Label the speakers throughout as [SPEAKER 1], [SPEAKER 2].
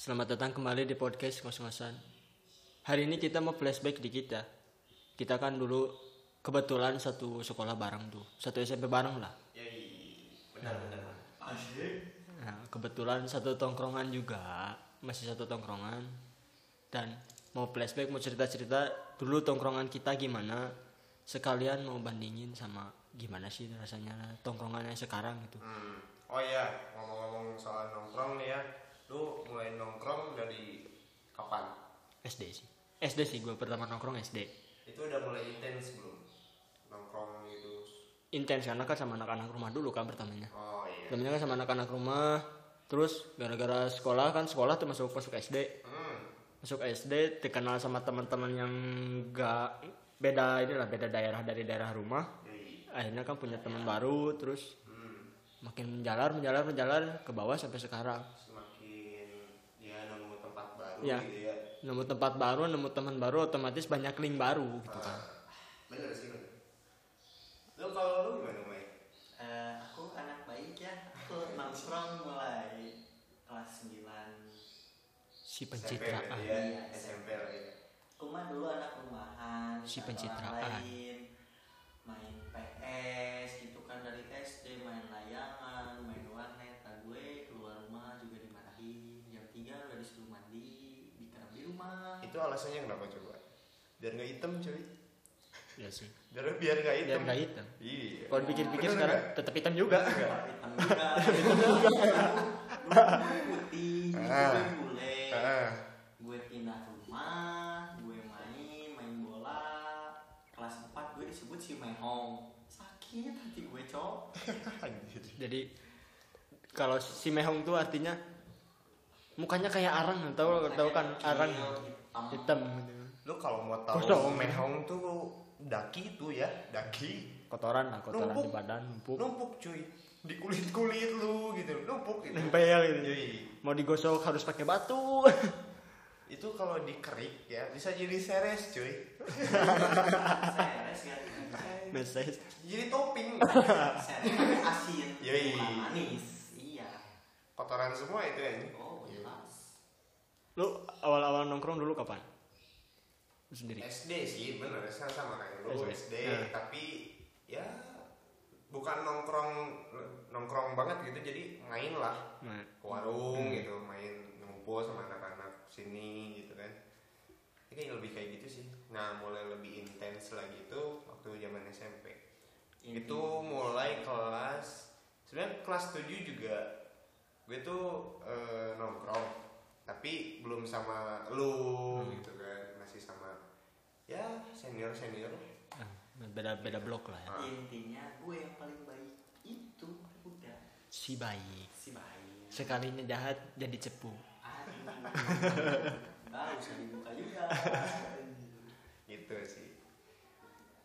[SPEAKER 1] Selamat datang kembali di podcast ngos-ngosan. Hari ini kita mau flashback di kita. Kita kan dulu kebetulan satu sekolah bareng tuh, satu SMP bareng lah. Nah, kebetulan satu tongkrongan juga, masih satu tongkrongan. Dan mau flashback, mau cerita-cerita dulu tongkrongan kita gimana. Sekalian mau bandingin sama gimana sih rasanya tongkrongan yang sekarang gitu.
[SPEAKER 2] Hmm. Oh iya, ngomong-ngomong soal nongkrong nih ya, lu mulai nongkrong dari kapan?
[SPEAKER 1] SD sih. SD sih gue pertama nongkrong SD.
[SPEAKER 2] Itu udah mulai intens belum? Nongkrong gitu.
[SPEAKER 1] Intens karena kan sama anak-anak rumah dulu kan pertamanya.
[SPEAKER 2] Oh iya.
[SPEAKER 1] Temennya kan sama anak-anak rumah. Terus gara-gara sekolah kan sekolah tuh masuk masuk SD.
[SPEAKER 2] Hmm.
[SPEAKER 1] Masuk SD dikenal sama teman-teman yang gak beda inilah beda daerah dari daerah rumah.
[SPEAKER 2] Yoi.
[SPEAKER 1] Akhirnya kan punya teman baru terus
[SPEAKER 2] Hmm.
[SPEAKER 1] makin menjalar menjalar menjalar ke bawah sampai sekarang.
[SPEAKER 2] Semakin dia nemu tempat baru
[SPEAKER 1] Iya.
[SPEAKER 2] gitu ya.
[SPEAKER 1] Nemu tempat baru, nemu teman baru otomatis banyak link baru gitu kan.
[SPEAKER 2] Bener sih bener. Lu kalau lu gimana, Mai?
[SPEAKER 3] Eh, aku anak baik ya. Aku nongkrong mulai kelas 9.
[SPEAKER 1] Si
[SPEAKER 2] SMP berarti
[SPEAKER 1] pencitraan.
[SPEAKER 2] ya?
[SPEAKER 3] Iya.
[SPEAKER 2] SMP lah ya.
[SPEAKER 3] Aku mah dulu anak rumahan,
[SPEAKER 1] Si
[SPEAKER 3] satu
[SPEAKER 1] pencitraan.
[SPEAKER 3] orang lain. Main PS gitu kan dari SD, main layangan, main warnet. Nah, gue keluar rumah juga dimarahin. Jam 3 udah disuruh mandi, diterap di rumah.
[SPEAKER 2] Itu alasannya kenapa coba? Biar nggak hitam cuy.
[SPEAKER 1] Ya sih.
[SPEAKER 2] Biar biar nggak hitam.
[SPEAKER 1] Biar nggak hitam.
[SPEAKER 2] Iya.
[SPEAKER 1] Kalau dipikir-pikir
[SPEAKER 2] Bener
[SPEAKER 1] sekarang
[SPEAKER 2] nggak?
[SPEAKER 1] tetap hitam juga.
[SPEAKER 3] Hitam juga. Dulu putih,
[SPEAKER 2] Ah.
[SPEAKER 3] gue bule.
[SPEAKER 2] Ah.
[SPEAKER 3] gue pindah rumah gue main main bola kelas 4 gue disebut si Mehong sakit hati gue cok
[SPEAKER 2] Ah, Anjir.
[SPEAKER 1] Jadi kalau si Mehong tuh artinya mukanya kayak arang, tahu tahu kan arang hitam gitu.
[SPEAKER 2] Lu kalau mau tahu
[SPEAKER 1] Kosong.
[SPEAKER 2] mehong tuh daki itu ya, daki
[SPEAKER 1] Kotoran lah, kotoran
[SPEAKER 2] Numpuk.
[SPEAKER 1] di badan, numpuk.
[SPEAKER 2] numpuk cuy di kulit kulit lu gitu numpuk gitu.
[SPEAKER 1] Nempel gitu.
[SPEAKER 2] Cuy,
[SPEAKER 1] Mau digosok harus pakai batu.
[SPEAKER 2] itu kalau dikerik ya bisa jadi seres cuy
[SPEAKER 3] seres kan
[SPEAKER 1] Meses.
[SPEAKER 2] jadi topping
[SPEAKER 3] seres asin
[SPEAKER 2] Yoi.
[SPEAKER 3] bukan manis iya
[SPEAKER 2] kotoran semua itu ya ini.
[SPEAKER 3] oh jelas
[SPEAKER 1] Lu awal-awal nongkrong dulu kapan? Lu sendiri.
[SPEAKER 2] SD sih bener sama sama kayak lu
[SPEAKER 1] SD.
[SPEAKER 2] SD
[SPEAKER 1] Nah.
[SPEAKER 2] tapi ya bukan nongkrong nongkrong banget gitu jadi main lah
[SPEAKER 1] Nah,
[SPEAKER 2] ke warung
[SPEAKER 1] Hmm.
[SPEAKER 2] gitu main ngumpul sama anak-anak sini gitu kan ini kayak lebih kayak gitu sih nah mulai lebih intens lagi itu waktu zaman SMP
[SPEAKER 3] Ini.
[SPEAKER 2] itu mulai kelas sebenarnya kelas 7 juga gue tuh eh, nongkrong tapi belum sama lu gitu kan masih sama ya senior senior
[SPEAKER 1] nah, beda-beda blok lah ya.
[SPEAKER 2] Ah.
[SPEAKER 3] intinya gue yang paling baik itu udah
[SPEAKER 1] Si bayi.
[SPEAKER 3] si bayi
[SPEAKER 1] Sekalinya jahat jadi cepu.
[SPEAKER 3] aduh baru bisa dibuka juga
[SPEAKER 2] gitu sih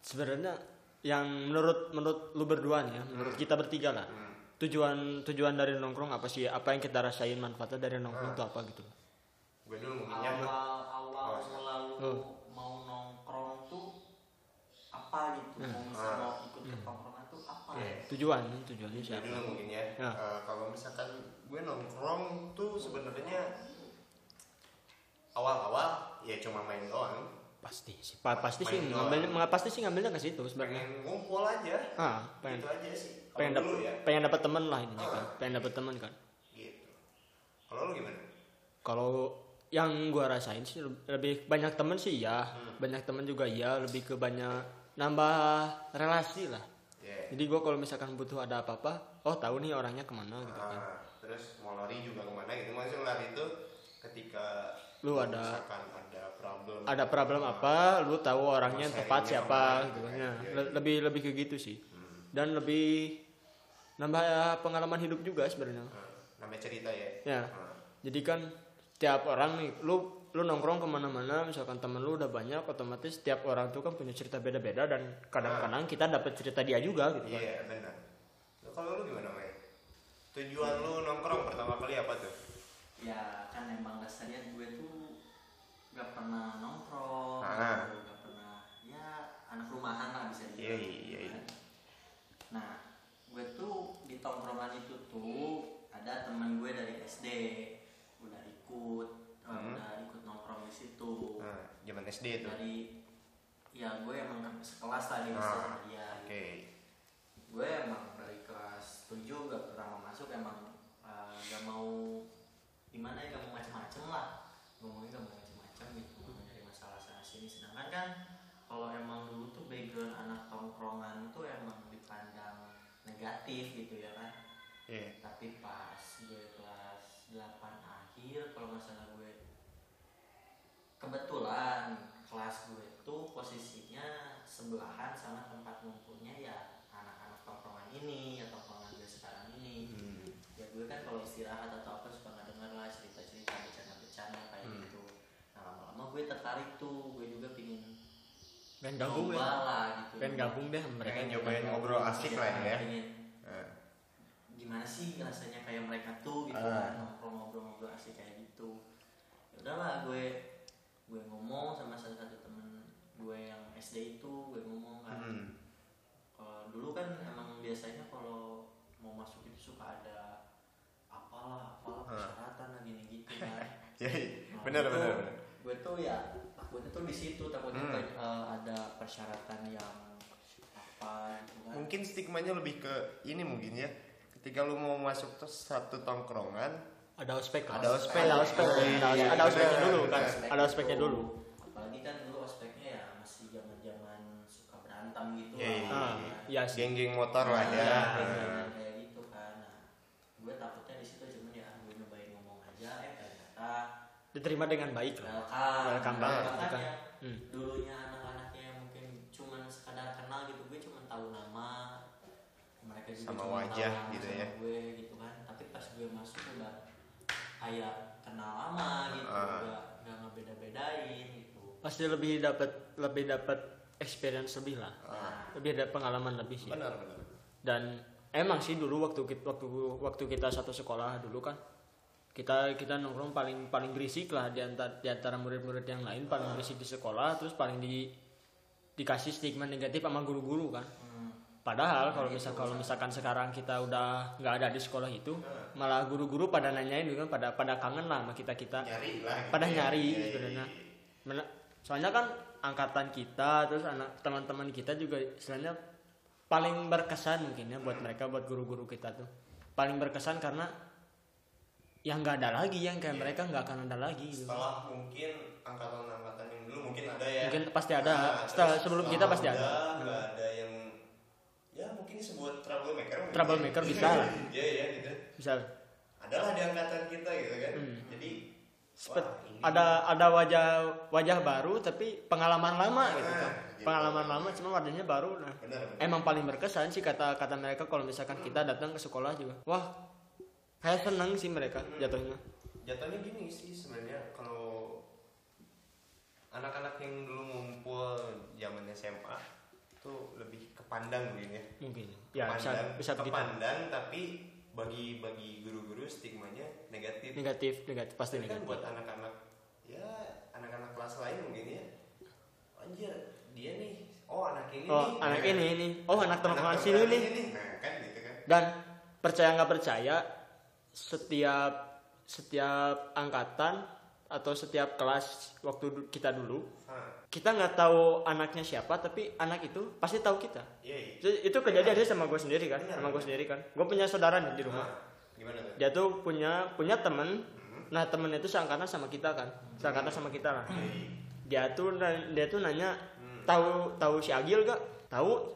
[SPEAKER 1] Sebenarnya yang menurut menurut lu berdua nih ya, menurut kita bertiga lah.
[SPEAKER 2] Hmm.
[SPEAKER 1] tujuan tujuan dari nongkrong apa sih apa yang kita rasain manfaatnya dari nongkrong
[SPEAKER 2] Ah.
[SPEAKER 1] itu apa gitu
[SPEAKER 2] gue dulu mau minyak lah
[SPEAKER 3] awal
[SPEAKER 2] Oh.
[SPEAKER 3] awal selalu
[SPEAKER 1] Hmm.
[SPEAKER 3] mau nongkrong tuh apa gitu mau misal
[SPEAKER 2] Ah.
[SPEAKER 3] mau ikut ke tongkrongan tuh apa
[SPEAKER 1] ya, tujuan tujuannya
[SPEAKER 2] Ya
[SPEAKER 1] siapa
[SPEAKER 2] dulu mungkin ya.
[SPEAKER 1] Ya.
[SPEAKER 2] Eh, kalau misalkan gue nongkrong tuh sebenarnya awal-awal ya cuma main doang,
[SPEAKER 1] pasti sih pa- pasti sih
[SPEAKER 2] Main
[SPEAKER 1] ngambilnya
[SPEAKER 2] doang.
[SPEAKER 1] ma- pasti sih ngambilnya ke situ sebenarnya
[SPEAKER 2] pengen ngumpul aja.
[SPEAKER 1] ah pengen
[SPEAKER 2] Gitu aja sih. Kalau
[SPEAKER 1] pengen dapat
[SPEAKER 2] dulu ya.
[SPEAKER 1] pengen dapat teman lah intinya
[SPEAKER 2] Ah.
[SPEAKER 1] kan pengen dapat teman kan
[SPEAKER 2] Gitu. Kalau lu gimana?
[SPEAKER 1] kalau yang gua rasain sih lebih banyak teman sih ya
[SPEAKER 2] Hmm.
[SPEAKER 1] banyak teman juga ya lebih ke banyak nambah relasi lah
[SPEAKER 2] Ya.
[SPEAKER 1] jadi gua kalau misalkan butuh ada apa apa oh tahu nih orangnya kemana gitu kan
[SPEAKER 2] Ah, terus mau lari juga kemana gitu maksudnya lari itu ketika
[SPEAKER 1] Lu ada-
[SPEAKER 2] misalkan ada problem Hmm.
[SPEAKER 1] ada problem apa lu tahu orangnya yang
[SPEAKER 2] Sharingnya
[SPEAKER 1] tepat
[SPEAKER 2] kemana
[SPEAKER 1] siapa
[SPEAKER 2] gitu
[SPEAKER 1] gitu
[SPEAKER 2] kan.
[SPEAKER 1] ya.
[SPEAKER 2] Iya,
[SPEAKER 1] Le-
[SPEAKER 2] iya.
[SPEAKER 1] lebih lebih ke gitu sih
[SPEAKER 2] Hmm.
[SPEAKER 1] dan lebih nambah ya, pengalaman hidup juga sebenarnya
[SPEAKER 2] Ah, namanya cerita ya
[SPEAKER 1] ya
[SPEAKER 2] Ah,
[SPEAKER 1] jadi kan tiap orang nih lu lu nongkrong kemana-mana misalkan temen lu udah banyak otomatis tiap orang tuh kan punya cerita beda-beda dan kadang-kadang kita dapat cerita dia juga gitu kan
[SPEAKER 2] iya benar Lu kalau lu gimana Mai? tujuan lu nongkrong pertama kali apa tuh
[SPEAKER 3] ya kan emang dasarnya gue tuh gak pernah nongkrong
[SPEAKER 2] Ah.
[SPEAKER 3] gitu, gak pernah ya anak rumahan lah bisa
[SPEAKER 2] Iya,
[SPEAKER 3] dibilang
[SPEAKER 2] iya,
[SPEAKER 3] gitu
[SPEAKER 2] iya.
[SPEAKER 3] kan. nah gue tuh di tongkrongan itu tuh ada teman gue dari SD udah ikut eh,
[SPEAKER 2] Hmm.
[SPEAKER 3] udah ikut nongkrong di situ
[SPEAKER 2] Nah, zaman SD itu. Oke.
[SPEAKER 3] dari ya gue emang ke- sekelas tadi
[SPEAKER 2] Ah,
[SPEAKER 3] sama dia gitu. gue emang dari kelas 7 gak pertama masuk emang eh, gak mau gimana ya gak mau macem-macem lah ngomongnya gak mau macem-macem gitu gak mau nyari masalah sana sini sedangkan kan kalau emang dulu tuh background anak tongkrongan tuh emang dipandang negatif gitu ya kan
[SPEAKER 2] Iya.
[SPEAKER 3] tapi pas gue kelas 8 akhir kalau nggak salah gue kebetulan kelas gue tuh posisinya sebelahan sama tempat ngumpulnya ya anak-anak tongkrongan ini ya tongkrongan gue sekarang ini
[SPEAKER 2] Hmm.
[SPEAKER 3] ya gue kan kalau istirahat atau apa suka nggak denger lah cerita-cerita bercanda-bercanda kayak
[SPEAKER 2] Hmm.
[SPEAKER 3] gitu nah lama-lama gue tertarik tuh gue juga pingin
[SPEAKER 1] pengen gabung
[SPEAKER 3] coba
[SPEAKER 1] ya
[SPEAKER 3] lah gitu
[SPEAKER 1] pengen gabung deh sama mereka
[SPEAKER 2] Mereka nyobain ngobrol asik lah ya.
[SPEAKER 3] Pingin
[SPEAKER 2] Nah,
[SPEAKER 3] gimana sih rasanya kayak mereka tuh gitu
[SPEAKER 2] Ah.
[SPEAKER 3] kan ngobrol-ngobrol-ngobrol asik kayak gitu ya udahlah gue gue ngomong sama salah satu temen gue yang SD itu gue ngomong kan
[SPEAKER 2] hmm.
[SPEAKER 3] kalau dulu kan emang biasanya kalau mau masuk itu suka ada apalah
[SPEAKER 2] Ah.
[SPEAKER 3] apalah persyaratan lah gini gitu kan
[SPEAKER 2] Ya,
[SPEAKER 3] Nah,
[SPEAKER 2] benar
[SPEAKER 3] gue tuh-
[SPEAKER 2] benar benar.
[SPEAKER 3] gue tuh ya takutnya tuh di situ takutnya
[SPEAKER 2] Hmm.
[SPEAKER 3] tuh, eh, ada persyaratan yang apa gitu kan
[SPEAKER 2] Mungkin stigmanya lebih ke ini mungkin ya. Ketika lu mau masuk tuh satu tongkrongan,
[SPEAKER 1] ada ospek lah.
[SPEAKER 2] Ada ospek.
[SPEAKER 1] ada ospek
[SPEAKER 2] Iya,
[SPEAKER 1] ada,
[SPEAKER 2] iya,
[SPEAKER 1] ada ospeknya
[SPEAKER 2] bener,
[SPEAKER 1] dulu kan
[SPEAKER 2] bener.
[SPEAKER 1] ada ospeknya
[SPEAKER 3] itu.
[SPEAKER 1] dulu
[SPEAKER 3] apalagi kan dulu ospeknya ya masih zaman zaman suka berantem gitu
[SPEAKER 2] Iya, iya,
[SPEAKER 3] lah
[SPEAKER 1] ah iya sih
[SPEAKER 2] geng-geng motor lah ya.
[SPEAKER 1] Iya.
[SPEAKER 2] Nah,
[SPEAKER 3] kayak gitu kan nah, gue takutnya di situ cuman ya ah, gue nyobain ngomong aja eh ternyata
[SPEAKER 1] diterima dengan baik
[SPEAKER 2] Gitu.
[SPEAKER 1] lah
[SPEAKER 3] welcome
[SPEAKER 1] Welcome banget,
[SPEAKER 3] Bahkan
[SPEAKER 1] bukan?
[SPEAKER 3] ya,
[SPEAKER 1] Hmm.
[SPEAKER 3] dulunya anak-anaknya yang mungkin cuman sekadar kenal gitu gue cuman tahu nama mereka juga
[SPEAKER 2] Sama
[SPEAKER 3] cuman
[SPEAKER 2] wajah
[SPEAKER 3] tahu nama
[SPEAKER 2] gitu
[SPEAKER 3] sama
[SPEAKER 2] ya.
[SPEAKER 3] gue gitu kan tapi pas gue masuk udah kayak kenal lama gitu
[SPEAKER 2] Ah.
[SPEAKER 3] udah nggak ngebeda-bedain gitu
[SPEAKER 1] pasti lebih dapat lebih dapat experience lebih lah
[SPEAKER 2] Ah. iya.
[SPEAKER 1] lebih ada pengalaman lebih sih
[SPEAKER 2] Benar benar.
[SPEAKER 1] dan emang sih dulu waktu kita waktu waktu kita satu sekolah dulu kan kita kita nongkrong paling paling berisik lah di antara, di antara murid-murid yang lain paling berisik di sekolah terus paling di dikasih stigma negatif sama guru-guru kan
[SPEAKER 3] Hmm.
[SPEAKER 1] padahal kalau misal kalau misalkan sekarang kita udah nggak ada di sekolah itu malah guru-guru pada nanyain gitu kan pada pada kangen lah sama kita kita
[SPEAKER 2] Nyari lah. gitu
[SPEAKER 1] pada
[SPEAKER 2] ya.
[SPEAKER 1] nyari
[SPEAKER 2] Iya, iya,
[SPEAKER 1] sebenarnya.
[SPEAKER 2] iya.
[SPEAKER 1] Mena- soalnya kan angkatan kita terus anak teman-teman kita juga istilahnya paling berkesan mungkin ya buat mereka buat guru-guru kita tuh paling berkesan karena yang nggak ada lagi yang kayak
[SPEAKER 2] Iya.
[SPEAKER 1] mereka nggak akan ada lagi gitu.
[SPEAKER 2] setelah mungkin angkatan-angkatan yang dulu mungkin ada ya
[SPEAKER 1] mungkin pasti ada setelah
[SPEAKER 2] terus
[SPEAKER 1] sebelum
[SPEAKER 2] setelah
[SPEAKER 1] kita pasti
[SPEAKER 2] udah
[SPEAKER 1] ada
[SPEAKER 2] nggak ada yang ya mungkin disebut troublemaker mungkin.
[SPEAKER 1] Troublemaker bisa lah.
[SPEAKER 2] iya iya gitu
[SPEAKER 1] misal
[SPEAKER 2] adalah di angkatan kita gitu kan
[SPEAKER 1] Hmm.
[SPEAKER 2] jadi
[SPEAKER 1] sepet-
[SPEAKER 2] wah, ini-
[SPEAKER 1] ada ada wajah wajah baru tapi pengalaman lama gitu
[SPEAKER 2] Ah,
[SPEAKER 1] kan
[SPEAKER 2] gitu.
[SPEAKER 1] pengalaman lama cuma wajahnya baru nah
[SPEAKER 2] benar benar
[SPEAKER 1] emang paling berkesan sih kata kata mereka kalau misalkan kita datang ke sekolah juga wah kayak seneng sih mereka jatuhnya
[SPEAKER 2] jatuhnya gini sih sebenarnya kalau anak-anak yang dulu ngumpul zaman SMA tuh lebih kepandang gitu ya
[SPEAKER 1] mungkin ya bisa
[SPEAKER 2] Kepandang-
[SPEAKER 1] bisa ditahan.
[SPEAKER 2] kepandang tapi bagi bagi guru-guru stigmanya negatif
[SPEAKER 1] negatif negatif pasti
[SPEAKER 2] Ini kan
[SPEAKER 1] negatif
[SPEAKER 2] buat anak-anak ya anak-anak kelas lain mungkin ya anjir dia nih oh anak ini
[SPEAKER 1] oh
[SPEAKER 2] nih.
[SPEAKER 1] anak
[SPEAKER 2] Nah,
[SPEAKER 1] ini ini oh anak tongkrongan sini
[SPEAKER 2] tongkrongan
[SPEAKER 1] nih
[SPEAKER 2] ini nah kan gitu kan
[SPEAKER 1] dan percaya nggak percaya setiap setiap angkatan atau setiap kelas waktu du- kita dulu
[SPEAKER 2] ah
[SPEAKER 1] kita nggak tahu anaknya siapa tapi anak itu pasti tahu kita
[SPEAKER 2] iya iya.
[SPEAKER 1] itu, itu kejadian dia sama gue sendiri kan
[SPEAKER 2] Benar.
[SPEAKER 1] sama gue sendiri kan gue punya saudara nih di rumah
[SPEAKER 2] Nah, gimana tuh
[SPEAKER 1] dia tuh punya punya temen nah temennya itu seangkatan sama kita kan seangkatan sama kita lah
[SPEAKER 2] Iya, iya.
[SPEAKER 1] dia tuh na- dia tuh nanya
[SPEAKER 2] Hmm.
[SPEAKER 1] tahu tahu si Agil gak tahu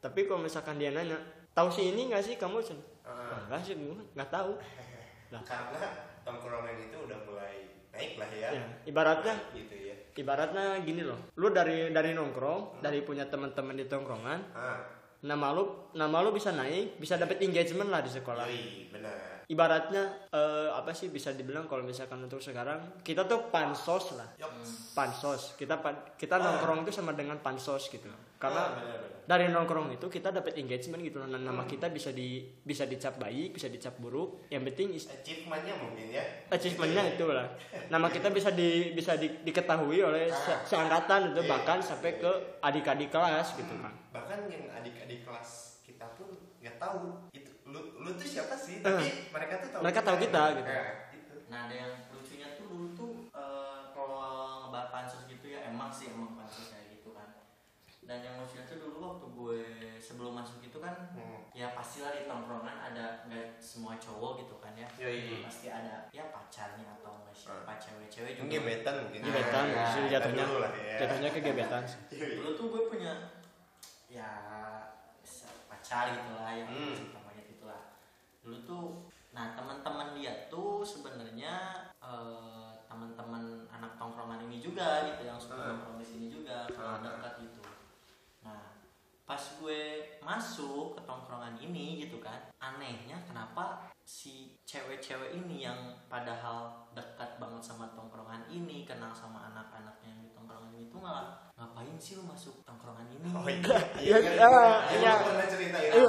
[SPEAKER 1] tapi kalau misalkan dia nanya tahu si ini gak sih kamu Cen?"
[SPEAKER 2] Ah,
[SPEAKER 1] "Wah, nggak sih gue nggak tahu Nah.
[SPEAKER 2] karena tongkrongan itu udah mulai naik lah ya,
[SPEAKER 1] ya, ibaratnya
[SPEAKER 2] gitu ya
[SPEAKER 1] ibaratnya gini loh lu dari dari nongkrong dari punya teman-teman di tongkrongan
[SPEAKER 2] ah
[SPEAKER 1] nama lu nama lu bisa naik bisa dapet engagement lah di sekolah
[SPEAKER 2] yoi, iya, benar
[SPEAKER 1] ibaratnya eh, apa sih bisa dibilang kalau misalkan untuk sekarang kita tuh pansos lah
[SPEAKER 2] Yok.
[SPEAKER 1] pansos kita pan- kita nongkrong itu sama dengan pansos gitu
[SPEAKER 2] Ah,
[SPEAKER 1] karena
[SPEAKER 2] benar benar
[SPEAKER 1] dari nongkrong itu kita dapat engagement gitu nah, nama
[SPEAKER 2] Hmm.
[SPEAKER 1] kita bisa di bisa dicap baik bisa dicap buruk yang penting is-
[SPEAKER 2] achievementnya mungkin ya
[SPEAKER 1] achievementnya itulah nama kita bisa di bisa di- diketahui oleh se- seangkatan itu
[SPEAKER 2] Iya.
[SPEAKER 1] bahkan sampai ke adik-adik kelas gitu kan
[SPEAKER 2] ya. bahkan yang adik-adik kelas kita pun nggak tahu itu lu, lu tuh siapa sih tapi mereka tuh tahu
[SPEAKER 1] Eh. Mereka tahu kita, gitu.
[SPEAKER 2] Nah, itu.
[SPEAKER 3] Nah ada yang lucunya tuh dulu tuh eh, kalau ngebahas pansus gitu ya emang sih emang pansus kayak gitu kan. Dan yang lucunya tuh dulu waktu gue sebelum masuk gitu kan
[SPEAKER 2] Hmm.
[SPEAKER 3] ya pastilah di tongkrongan ada nggak semua cowok gitu kan ya.
[SPEAKER 2] Yoi.
[SPEAKER 3] Pasti ada ya pacarnya atau nggak siapa cewek-cewek juga.
[SPEAKER 2] gebetan Ah. mungkin
[SPEAKER 1] Gebetan,
[SPEAKER 2] ya,
[SPEAKER 1] justru
[SPEAKER 2] ada
[SPEAKER 1] jatuhnya
[SPEAKER 2] dulu lah ya.
[SPEAKER 1] jatuhnya ke gebetan sih.
[SPEAKER 2] Yoi.
[SPEAKER 3] dulu tuh gue punya ya se- pacar gitu lah yang
[SPEAKER 2] Hmm.
[SPEAKER 3] cinta monyet gitu lah dulu tuh nah teman-teman dia tuh sebenarnya eh, teman-teman anak tongkrongan ini juga gitu yang suka
[SPEAKER 2] Ah.
[SPEAKER 3] nongkrong di sini juga
[SPEAKER 2] Ah.
[SPEAKER 3] kalau dekat gitu nah pas gue masuk ke tongkrongan ini gitu kan anehnya kenapa si cewek-cewek ini yang padahal dekat banget sama tongkrongan ini kenal sama anak-anaknya yang di tongkrongan ini tuh malah ngapain sih lu masuk tongkrongan ini
[SPEAKER 2] Oh iya.
[SPEAKER 1] Iya,
[SPEAKER 2] kan?
[SPEAKER 1] iya,
[SPEAKER 2] Ayo,
[SPEAKER 1] iya.
[SPEAKER 2] lu pernah cerita ya.
[SPEAKER 1] Ayo,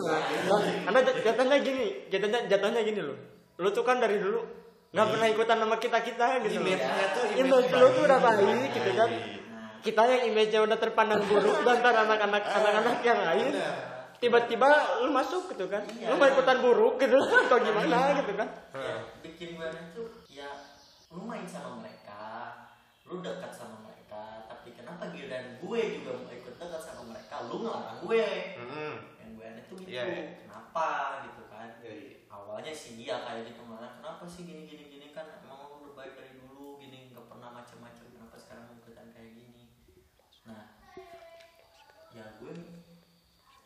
[SPEAKER 1] karena Iya. jat- jatuhnya gini, jatuhnya jatuhnya gini loh. Lu tuh kan dari dulu nggak pernah ikutan sama kita kita gitu loh.
[SPEAKER 2] Iya. Image-nya tuh image
[SPEAKER 1] Image lu tuh udah baik gitu kan.
[SPEAKER 3] nah
[SPEAKER 1] Kita yang image-nya udah terpandang buruk dan antara anak-anak anak-anak yang lain.
[SPEAKER 2] Bener.
[SPEAKER 1] Tiba-tiba lu masuk gitu kan.
[SPEAKER 3] Iya.
[SPEAKER 1] Lu mau ikutan buruk gitu atau gimana gitu kan.
[SPEAKER 3] ya, bikin gue aneh tuh ya lu main sama mereka lu dekat sama mereka tapi kenapa giliran gue juga mau ikut dekat sama mereka lu ngelarang gue
[SPEAKER 2] Mm-mm.
[SPEAKER 3] yang gue aneh tuh gitu
[SPEAKER 2] Iya, iya.
[SPEAKER 3] kenapa gitu kan
[SPEAKER 2] Yoi.
[SPEAKER 3] awalnya sih dia kayak gitu malah kenapa sih gini gini gini kan emang lu udah baik dari dulu gini nggak pernah macam-macam kenapa sekarang lu ikutan kayak gini nah ya gue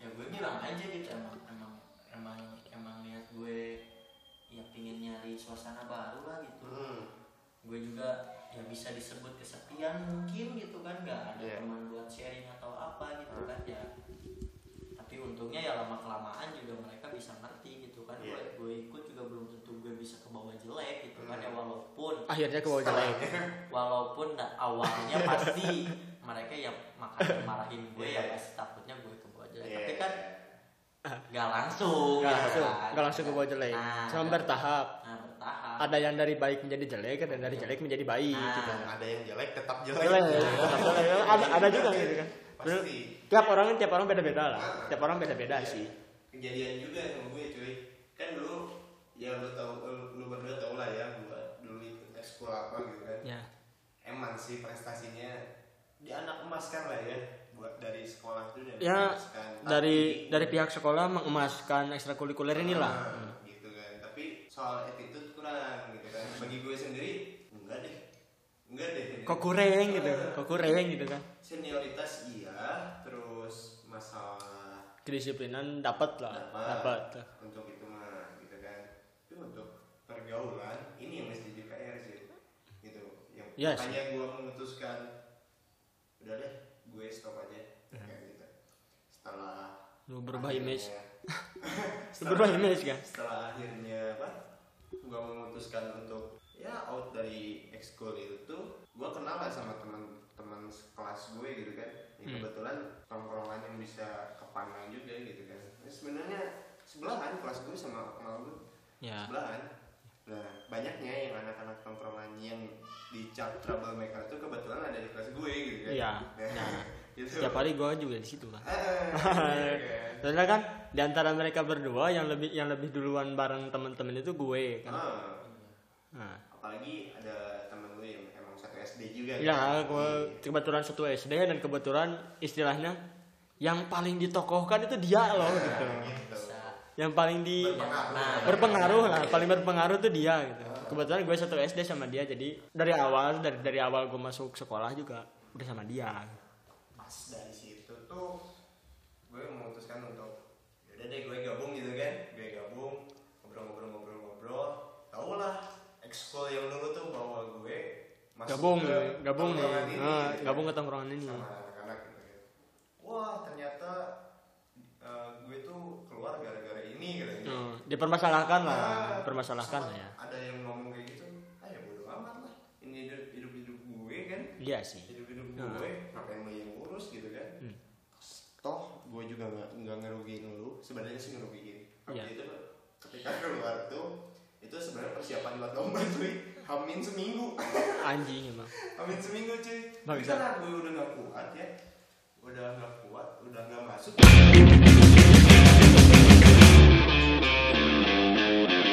[SPEAKER 3] ya gue bilang aja gitu emang emang emang emang niat gue ya pingin nyari suasana baru lah gitu
[SPEAKER 2] Mm.
[SPEAKER 3] gue juga ya bisa disebut kesepian mungkin gitu kan nggak ada
[SPEAKER 2] Iya.
[SPEAKER 3] teman buat sharing atau apa gitu kan ya tapi untungnya ya lama kelamaan juga mereka bisa ngerti gitu kan
[SPEAKER 2] Iya.
[SPEAKER 3] gue, gue ikut juga belum tentu gue bisa ke bawah jelek gitu kan ya
[SPEAKER 2] Hmm.
[SPEAKER 3] walaupun
[SPEAKER 1] Akhirnya ke bawah
[SPEAKER 2] ya.
[SPEAKER 1] jelek.
[SPEAKER 3] walaupun da- awalnya pasti mereka ya makanya marahin gue ya
[SPEAKER 2] Iya.
[SPEAKER 3] pasti takutnya gue ke bawah jelek
[SPEAKER 2] Iya.
[SPEAKER 3] tapi kan nggak langsung
[SPEAKER 1] Nggak
[SPEAKER 3] gitu
[SPEAKER 1] langsung,
[SPEAKER 3] kan.
[SPEAKER 1] nggak langsung ke bawah jelek.
[SPEAKER 3] Nah,
[SPEAKER 1] Cuma bertahap.
[SPEAKER 3] nah bertahap
[SPEAKER 1] Ada yang dari baik menjadi jelek, ada yang dari jelek menjadi baik gitu.
[SPEAKER 2] Yang ada yang jelek tetap jelek.
[SPEAKER 1] Jelek, tetap jelek. Ada ada juga gitu kan.
[SPEAKER 2] Pasti.
[SPEAKER 1] tiap orang tiap orang beda-beda lah tiap orang beda-beda
[SPEAKER 2] Iya.
[SPEAKER 1] sih
[SPEAKER 2] kejadian juga sama gue cuy kan dulu ya lu tau lu, lu berdua tau lah ya gue dulu ikut ekskul apa gitu kan
[SPEAKER 1] ya
[SPEAKER 2] emang sih prestasinya di anak emas kan lah ya buat dari sekolah tuh dari
[SPEAKER 1] Ya,
[SPEAKER 2] emas kan.
[SPEAKER 1] dari
[SPEAKER 2] Tapi-
[SPEAKER 1] dari pihak sekolah mengemaskan ekstrakurikuler inilah
[SPEAKER 2] Ah, gitu kan tapi soal attitude kurang gitu kan bagi gue sendiri enggak deh enggak deh
[SPEAKER 1] kok kurang gitu kok kurang gitu kan
[SPEAKER 2] senioritas iya terus masalah
[SPEAKER 1] kedisiplinan dapat lah
[SPEAKER 2] Dapat.
[SPEAKER 1] dapat
[SPEAKER 2] untuk itu mah gitu kan tapi untuk pergaulan ini yang mesti JKR sih gitu yang
[SPEAKER 1] Iya sih.
[SPEAKER 2] makanya gue memutuskan udah deh gue stop aja kayak gitu setelah
[SPEAKER 1] Iya. lu berubah image
[SPEAKER 2] Setelah-
[SPEAKER 1] berubah image kan
[SPEAKER 2] setelah akhirnya apa gue memutuskan untuk ya out dari ekskul itu gue kenal lah sama teman-teman sekelas gue gitu kan ya,
[SPEAKER 1] Hmm.
[SPEAKER 2] kebetulan tongkrongan yang bisa kepandang juga gitu kan Nah, sebenarnya sebelahan kelas gue sama kenal gue
[SPEAKER 1] ya
[SPEAKER 2] sebelahan nah banyaknya yang anak-anak tongkrongan yang dicap troublemaker itu kebetulan ada di kelas gue gitu kan
[SPEAKER 1] Iya.
[SPEAKER 2] nah, gitu.
[SPEAKER 1] setiap hari gua juga di situ kan
[SPEAKER 2] Ah, iya kan?
[SPEAKER 1] soalnya kan di antara mereka berdua yang lebih yang lebih duluan bareng temen-temen itu gue kan
[SPEAKER 2] Ah.
[SPEAKER 1] nah.
[SPEAKER 2] apalagi ada temen gue yang emang satu SD juga
[SPEAKER 1] Ya,
[SPEAKER 2] kan?
[SPEAKER 1] gue kebetulan satu SD dan kebetulan istilahnya yang paling ditokohkan itu dia loh
[SPEAKER 2] Nah,
[SPEAKER 1] gitu.
[SPEAKER 2] gitu.
[SPEAKER 3] bisa
[SPEAKER 1] Yang paling di
[SPEAKER 2] Berpengaruh.
[SPEAKER 1] berpengaruh lah, paling berpengaruh tuh dia gitu. Kebetulan gue satu SD sama dia jadi dari awal dari dari awal gue masuk sekolah juga udah sama dia.
[SPEAKER 2] Pas dari situ tuh gue memutuskan untuk yaudah deh gue gabung gitu kan, gue gabung ngobrol-ngobrol-ngobrol-ngobrol. Tau lah, ekskul yang dulu tuh bawa gue masuk
[SPEAKER 1] Gabung,
[SPEAKER 2] ke
[SPEAKER 1] nih, gabung nih,
[SPEAKER 2] tongkrongan ini,
[SPEAKER 1] Nah,
[SPEAKER 2] gitu kan.
[SPEAKER 1] gabung ke tongkrongan ini.
[SPEAKER 2] sama anak-anak gitu kan. Wah ternyata eh, gue tuh keluar gara-gara ini gitu.
[SPEAKER 1] Hmm, dipermasalahkan lah,
[SPEAKER 2] Nah,
[SPEAKER 1] dipermasalahkan
[SPEAKER 2] sama
[SPEAKER 1] lah ya.
[SPEAKER 2] Ada yang ngomong kayak gitu, ah ya bodo amat lah. Ini hidup hidup, hidup gue kan,
[SPEAKER 1] Iya sih.
[SPEAKER 2] hidup hidup
[SPEAKER 1] Nah.
[SPEAKER 2] gue, ngapain lo yang urus gitu kan?
[SPEAKER 1] Hmm.
[SPEAKER 2] Toh gue juga nggak nggak ngerugiin lu, sebenarnya sih ngerugiin. Waktu
[SPEAKER 1] Iya.
[SPEAKER 2] itu ketika keluar tuh itu sebenarnya persiapan buat lomba cuy Hamin seminggu
[SPEAKER 1] Anjing emang.
[SPEAKER 2] Hamin seminggu cuy
[SPEAKER 1] Bangsat.
[SPEAKER 2] Bisa lah gue udah gak kuat ya Udah gak kuat, udah gak masuk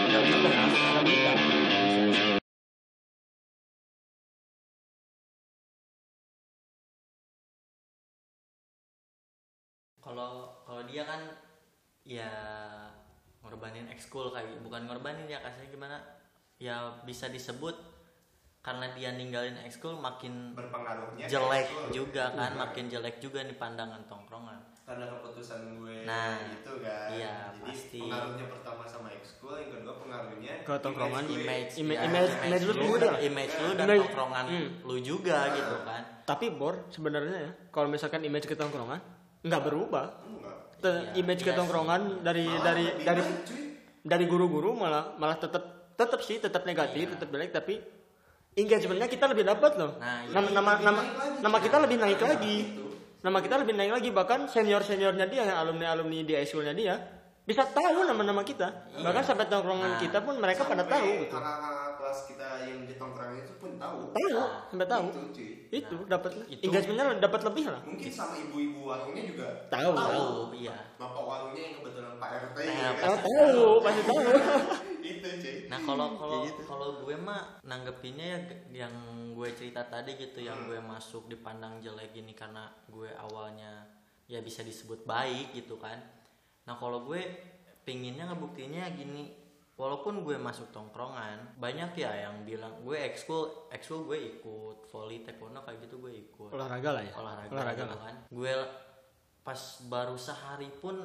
[SPEAKER 1] Nggak bisa, nggak bisa.
[SPEAKER 3] kalau kalau dia kan ya ngorbanin ekskul kayak bukan ngorbanin ya kasarnya gimana ya bisa disebut karena dia ninggalin ekskul makin
[SPEAKER 2] berpengaruhnya ke
[SPEAKER 3] jelek
[SPEAKER 2] ekskul.
[SPEAKER 3] juga kan
[SPEAKER 2] Iya.
[SPEAKER 3] makin jelek juga nih pandangan tongkrongan
[SPEAKER 2] karena keputusan gue
[SPEAKER 3] Nah,
[SPEAKER 2] gitu kan
[SPEAKER 3] iya,
[SPEAKER 2] jadi
[SPEAKER 3] pasti.
[SPEAKER 2] pengaruhnya pertama sama ekskul yang kedua pengaruhnya
[SPEAKER 1] Ke tongkrongan,
[SPEAKER 2] gue. Iya,
[SPEAKER 3] image
[SPEAKER 1] Ima-
[SPEAKER 3] ya,
[SPEAKER 1] image- image lu
[SPEAKER 3] lu,
[SPEAKER 1] juga lah.
[SPEAKER 3] image lu dan
[SPEAKER 1] Image-
[SPEAKER 3] tongkrongan
[SPEAKER 1] Hmm.
[SPEAKER 3] lu juga gitu kan
[SPEAKER 1] tapi bor sebenarnya ya kalau misalkan image ke tongkrongan nggak berubah
[SPEAKER 2] enggak
[SPEAKER 1] Te-
[SPEAKER 3] Iya,
[SPEAKER 1] image ke
[SPEAKER 3] iya
[SPEAKER 1] tongkrongan dari
[SPEAKER 2] Malah
[SPEAKER 1] dari
[SPEAKER 2] lebih
[SPEAKER 1] dari
[SPEAKER 2] baik, cuy.
[SPEAKER 1] dari guru-guru malah malah tetap tetap sih tetap negatif
[SPEAKER 3] Iya.
[SPEAKER 1] tetap jelek tapi engagementnya kita lebih dapat loh
[SPEAKER 3] Nah, iya.
[SPEAKER 1] nama nama
[SPEAKER 2] Lebih
[SPEAKER 1] nama,
[SPEAKER 2] naik lagi,
[SPEAKER 1] nama
[SPEAKER 2] cuy.
[SPEAKER 1] kita lebih naik
[SPEAKER 2] Nah,
[SPEAKER 1] lagi
[SPEAKER 2] gitu.
[SPEAKER 1] nama kita lebih naik lagi bahkan senior seniornya dia alumni alumni di eskulnya dia bisa tahu nama-nama kita bahkan sampai tongkrongan
[SPEAKER 3] Nah.
[SPEAKER 1] kita pun mereka pada
[SPEAKER 2] Iya. Sampai
[SPEAKER 1] tahu gitu
[SPEAKER 2] kakak-kakak kelas kita yang di tongkrongan itu pun tahu
[SPEAKER 1] tahu sampai tahu
[SPEAKER 2] Gitu, cuy.
[SPEAKER 1] itu dapat
[SPEAKER 3] Nah, itu-
[SPEAKER 1] engagementnya dapat lebih lah
[SPEAKER 2] mungkin sama ibu-ibu warungnya juga
[SPEAKER 1] tahu tahu
[SPEAKER 3] tahu iya
[SPEAKER 2] bapak warungnya yang kebetulan pak rt
[SPEAKER 3] Nah,
[SPEAKER 2] gitu kan.
[SPEAKER 1] Oh, tahu pasti tahu
[SPEAKER 2] itu cuy
[SPEAKER 3] Nah kalau kalau
[SPEAKER 2] Kayak gitu.
[SPEAKER 3] kalau gue mah nanggepinnya ya g- yang gue cerita tadi gitu yang
[SPEAKER 2] Hmm.
[SPEAKER 3] gue masuk dipandang jelek gini karena gue awalnya ya bisa disebut baik gitu kan. Nah kalau gue pinginnya ngebuktinya gini walaupun gue masuk tongkrongan banyak ya yang bilang gue ekskul ekskul gue ikut volley taekwondo kayak gitu gue ikut
[SPEAKER 1] olahraga lah ya
[SPEAKER 3] olahraga,
[SPEAKER 1] olahraga
[SPEAKER 3] gitu
[SPEAKER 1] lah
[SPEAKER 3] kan gue pas baru sehari pun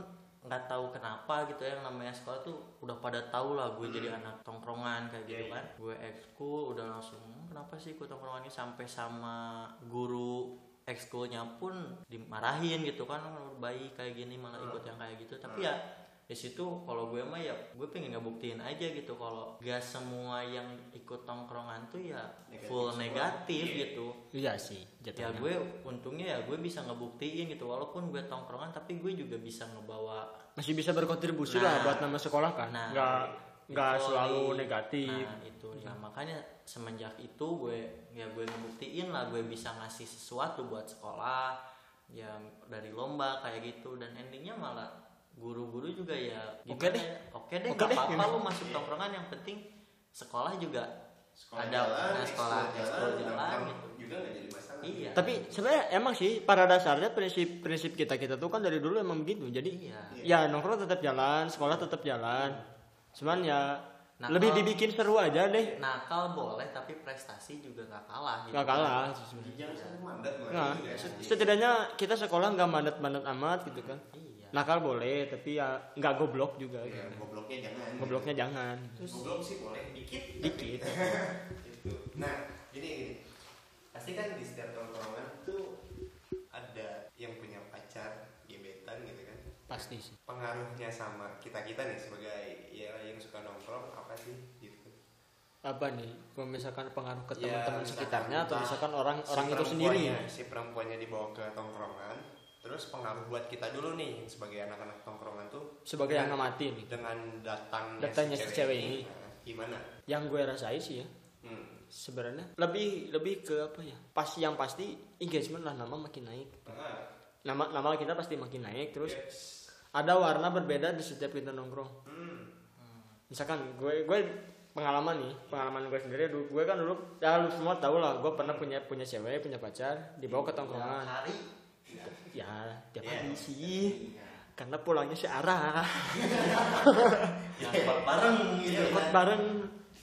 [SPEAKER 3] nggak tahu kenapa gitu ya yang namanya sekolah tuh udah pada tahu lah gue jadi anak tongkrongan kayak gitu
[SPEAKER 2] Hmm. Iya, iya.
[SPEAKER 3] kan gue ekskul udah langsung "Hmm, kenapa sih ikut tongkrongan ini sampai sama guru ekskulnya pun dimarahin gitu kan "Lu baik kayak gini malah ikut
[SPEAKER 2] Hmm.
[SPEAKER 3] yang kayak gitu tapi ya di situ kalau gue mah ya gue pengen ngebuktiin aja gitu kalau gak semua yang ikut tongkrongan tuh ya
[SPEAKER 2] Negatif
[SPEAKER 3] full
[SPEAKER 2] semua.
[SPEAKER 3] negatif
[SPEAKER 2] Iya.
[SPEAKER 3] gitu
[SPEAKER 1] iya sih
[SPEAKER 3] ya
[SPEAKER 1] jatuhnya
[SPEAKER 3] gue untungnya ya gue bisa ngebuktiin gitu walaupun gue tongkrongan tapi gue juga bisa ngebawa
[SPEAKER 1] masih bisa berkontribusi lah
[SPEAKER 3] Nah.
[SPEAKER 1] buat nama sekolah kan
[SPEAKER 3] Nah,
[SPEAKER 1] nggak nggak
[SPEAKER 3] volley.
[SPEAKER 1] selalu negatif Hmm.
[SPEAKER 3] nah itu ya makanya semenjak itu gue ya gue ngebuktiin lah gue bisa ngasih sesuatu buat sekolah ya dari lomba kayak gitu dan endingnya malah guru-guru juga ya
[SPEAKER 1] Oke
[SPEAKER 3] gimana
[SPEAKER 1] deh.
[SPEAKER 3] ya, oke deh
[SPEAKER 1] Oke
[SPEAKER 3] nggak
[SPEAKER 1] deh,
[SPEAKER 3] apa-apa
[SPEAKER 1] gimana?
[SPEAKER 3] lu masuk tongkrongan yang penting sekolah juga
[SPEAKER 2] sekolah
[SPEAKER 3] ada
[SPEAKER 2] jalan
[SPEAKER 3] nah, sekolah ekskul jalan gitu
[SPEAKER 2] juga nggak jadi masalah
[SPEAKER 3] iya
[SPEAKER 1] tapi sebenarnya emang sih pada dasarnya prinsip prinsip kita kita tuh kan dari dulu emang begitu jadi
[SPEAKER 3] iya
[SPEAKER 1] ya nongkrong tetap jalan sekolah tetap jalan cuman ya
[SPEAKER 3] Nah,
[SPEAKER 1] lebih
[SPEAKER 3] kalau-
[SPEAKER 1] dibikin seru aja deh
[SPEAKER 3] nakal boleh tapi prestasi juga nggak kalah gitu. Iya.
[SPEAKER 1] nggak kalah
[SPEAKER 2] jangan sampai mandat
[SPEAKER 1] nah,
[SPEAKER 2] malah gitu ya.
[SPEAKER 1] setidaknya kita sekolah nggak mandat-mandat amat gitu kan
[SPEAKER 3] iya
[SPEAKER 1] nakal boleh tapi ya nggak goblok juga
[SPEAKER 2] Ya,
[SPEAKER 1] gitu.
[SPEAKER 2] gobloknya jangan
[SPEAKER 1] gobloknya jangan
[SPEAKER 2] goblok sih boleh dikit tapi-
[SPEAKER 1] dikit
[SPEAKER 2] gitu. nah jadi gini pasti kan di setiap tongkrongan tuh ada yang punya pacar gebetan gitu kan
[SPEAKER 1] pasti sih
[SPEAKER 2] pengaruhnya sama kita kita nih sebagai ya yang suka nongkrong apa sih gitu
[SPEAKER 1] apa nih kalau misalkan pengaruh ke
[SPEAKER 2] Ya,
[SPEAKER 1] teman-teman
[SPEAKER 2] misalkan
[SPEAKER 1] sekitarnya atau
[SPEAKER 2] entah
[SPEAKER 1] misalkan orang
[SPEAKER 2] Si
[SPEAKER 1] orang itu sendiri
[SPEAKER 2] perempuannya- si perempuannya dibawa ke tongkrongan terus pengaruh buat kita dulu nih sebagai anak-anak tongkrongan tuh
[SPEAKER 1] sebagai yang
[SPEAKER 2] dengan,
[SPEAKER 1] ngamati nih
[SPEAKER 2] dengan datangnya,
[SPEAKER 1] Datangnya si cewek ini.
[SPEAKER 2] nah, gimana
[SPEAKER 1] yang gue rasain sih ya
[SPEAKER 2] hmm.
[SPEAKER 1] sebenarnya lebih lebih ke apa ya pas yang pasti engagement lah nama makin naik
[SPEAKER 2] Ah,
[SPEAKER 1] nama nama kita pasti makin naik terus
[SPEAKER 2] yes.
[SPEAKER 1] ada warna berbeda di setiap kita nongkrong
[SPEAKER 2] Iya. Hmm.
[SPEAKER 1] misalkan gue gue pengalaman nih pengalaman gue sendiri dulu gue kan dulu ya lu semua tau lah gue pernah punya punya cewek punya pacar dibawa ke tongkrongan
[SPEAKER 3] hari
[SPEAKER 1] ya tiap
[SPEAKER 2] Iya.
[SPEAKER 1] hari sih karena pulangnya searah
[SPEAKER 3] yang buat bareng gitu
[SPEAKER 1] buat
[SPEAKER 3] kan.
[SPEAKER 1] bareng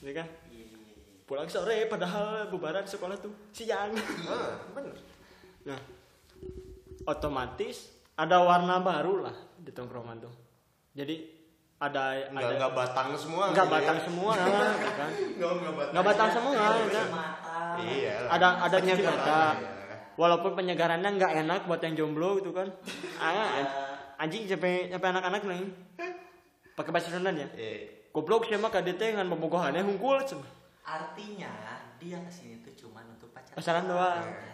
[SPEAKER 1] ya kan
[SPEAKER 3] Iya, iya, iya.
[SPEAKER 1] pulang sore padahal bubaran sekolah tuh siang
[SPEAKER 2] Ah, bener.
[SPEAKER 1] nah otomatis ada warna baru lah di tongkrongan tuh jadi ada
[SPEAKER 2] Enggak,
[SPEAKER 1] ada
[SPEAKER 2] enggak batang semua.
[SPEAKER 1] nggak
[SPEAKER 2] gitu ya.
[SPEAKER 1] batang semua gitu kan
[SPEAKER 2] Enggak, enggak batang.
[SPEAKER 1] nggak batang semua
[SPEAKER 3] Cuci
[SPEAKER 1] ya.
[SPEAKER 3] mata
[SPEAKER 2] Iya. lah.
[SPEAKER 1] ada ada cuci
[SPEAKER 2] Penyegaran,
[SPEAKER 1] mata
[SPEAKER 2] iya.
[SPEAKER 1] walaupun penyegarannya nggak enak buat yang jomblo gitu kan
[SPEAKER 2] Iya.
[SPEAKER 3] Ya,
[SPEAKER 1] ah, anjing sampai sampai anak-anak nih pakai bahasa Sunda ya
[SPEAKER 2] Eh,
[SPEAKER 1] goblok sih mah kadete dengan bobogohannya hungkul cuma
[SPEAKER 3] artinya dia kesini tuh cuman untuk pacaran
[SPEAKER 1] Pacaran doang.
[SPEAKER 3] Kan?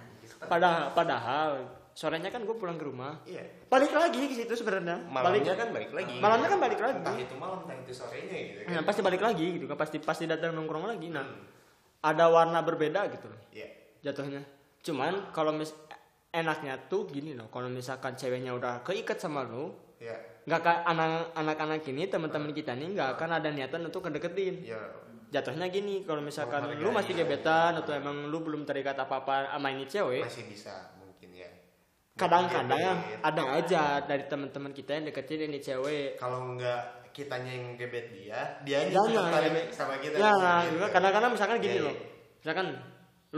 [SPEAKER 1] Padahal, padahal sorenya kan gue pulang ke rumah.
[SPEAKER 2] Iya.
[SPEAKER 1] Balik lagi ke situ sebenarnya.
[SPEAKER 2] Malamnya
[SPEAKER 1] Balik-
[SPEAKER 2] kan balik lagi.
[SPEAKER 1] Malamnya kan balik lagi.
[SPEAKER 2] Entah itu malam, entah itu sorenya gitu kan.
[SPEAKER 1] Nah, pasti balik lagi gitu kan. Pasti pasti datang nongkrong lagi. Nah,
[SPEAKER 2] Hmm.
[SPEAKER 1] ada warna berbeda gitu loh
[SPEAKER 2] Iya.
[SPEAKER 1] jatuhnya. Cuman kalau mis enaknya tuh gini loh. Kalau misalkan ceweknya udah keikat sama lu,
[SPEAKER 2] Iya.
[SPEAKER 1] nggak ka- anak- anak-anak ini teman-teman kita nih nggak akan ada niatan untuk kedeketin.
[SPEAKER 2] Iya.
[SPEAKER 1] Jatuhnya gini, kalau ya. misalkan
[SPEAKER 2] Menghargai.
[SPEAKER 1] lu masih gebetan atau emang lu belum terikat apa-apa sama ini cewek,
[SPEAKER 2] Masih bisa mungkin ya.
[SPEAKER 1] kadang-kadang
[SPEAKER 2] Gebet.
[SPEAKER 1] ada aja dari teman-teman kita yang deketin ini cewek
[SPEAKER 2] kalau nggak kitanya yang gebet dia dia
[SPEAKER 1] Jangan,
[SPEAKER 2] diputar
[SPEAKER 1] gebet.
[SPEAKER 2] sama
[SPEAKER 1] ya
[SPEAKER 2] kita Gitu.
[SPEAKER 1] Iya, nah, kadang-kadang misalkan gini
[SPEAKER 2] Iya,
[SPEAKER 1] loh misalkan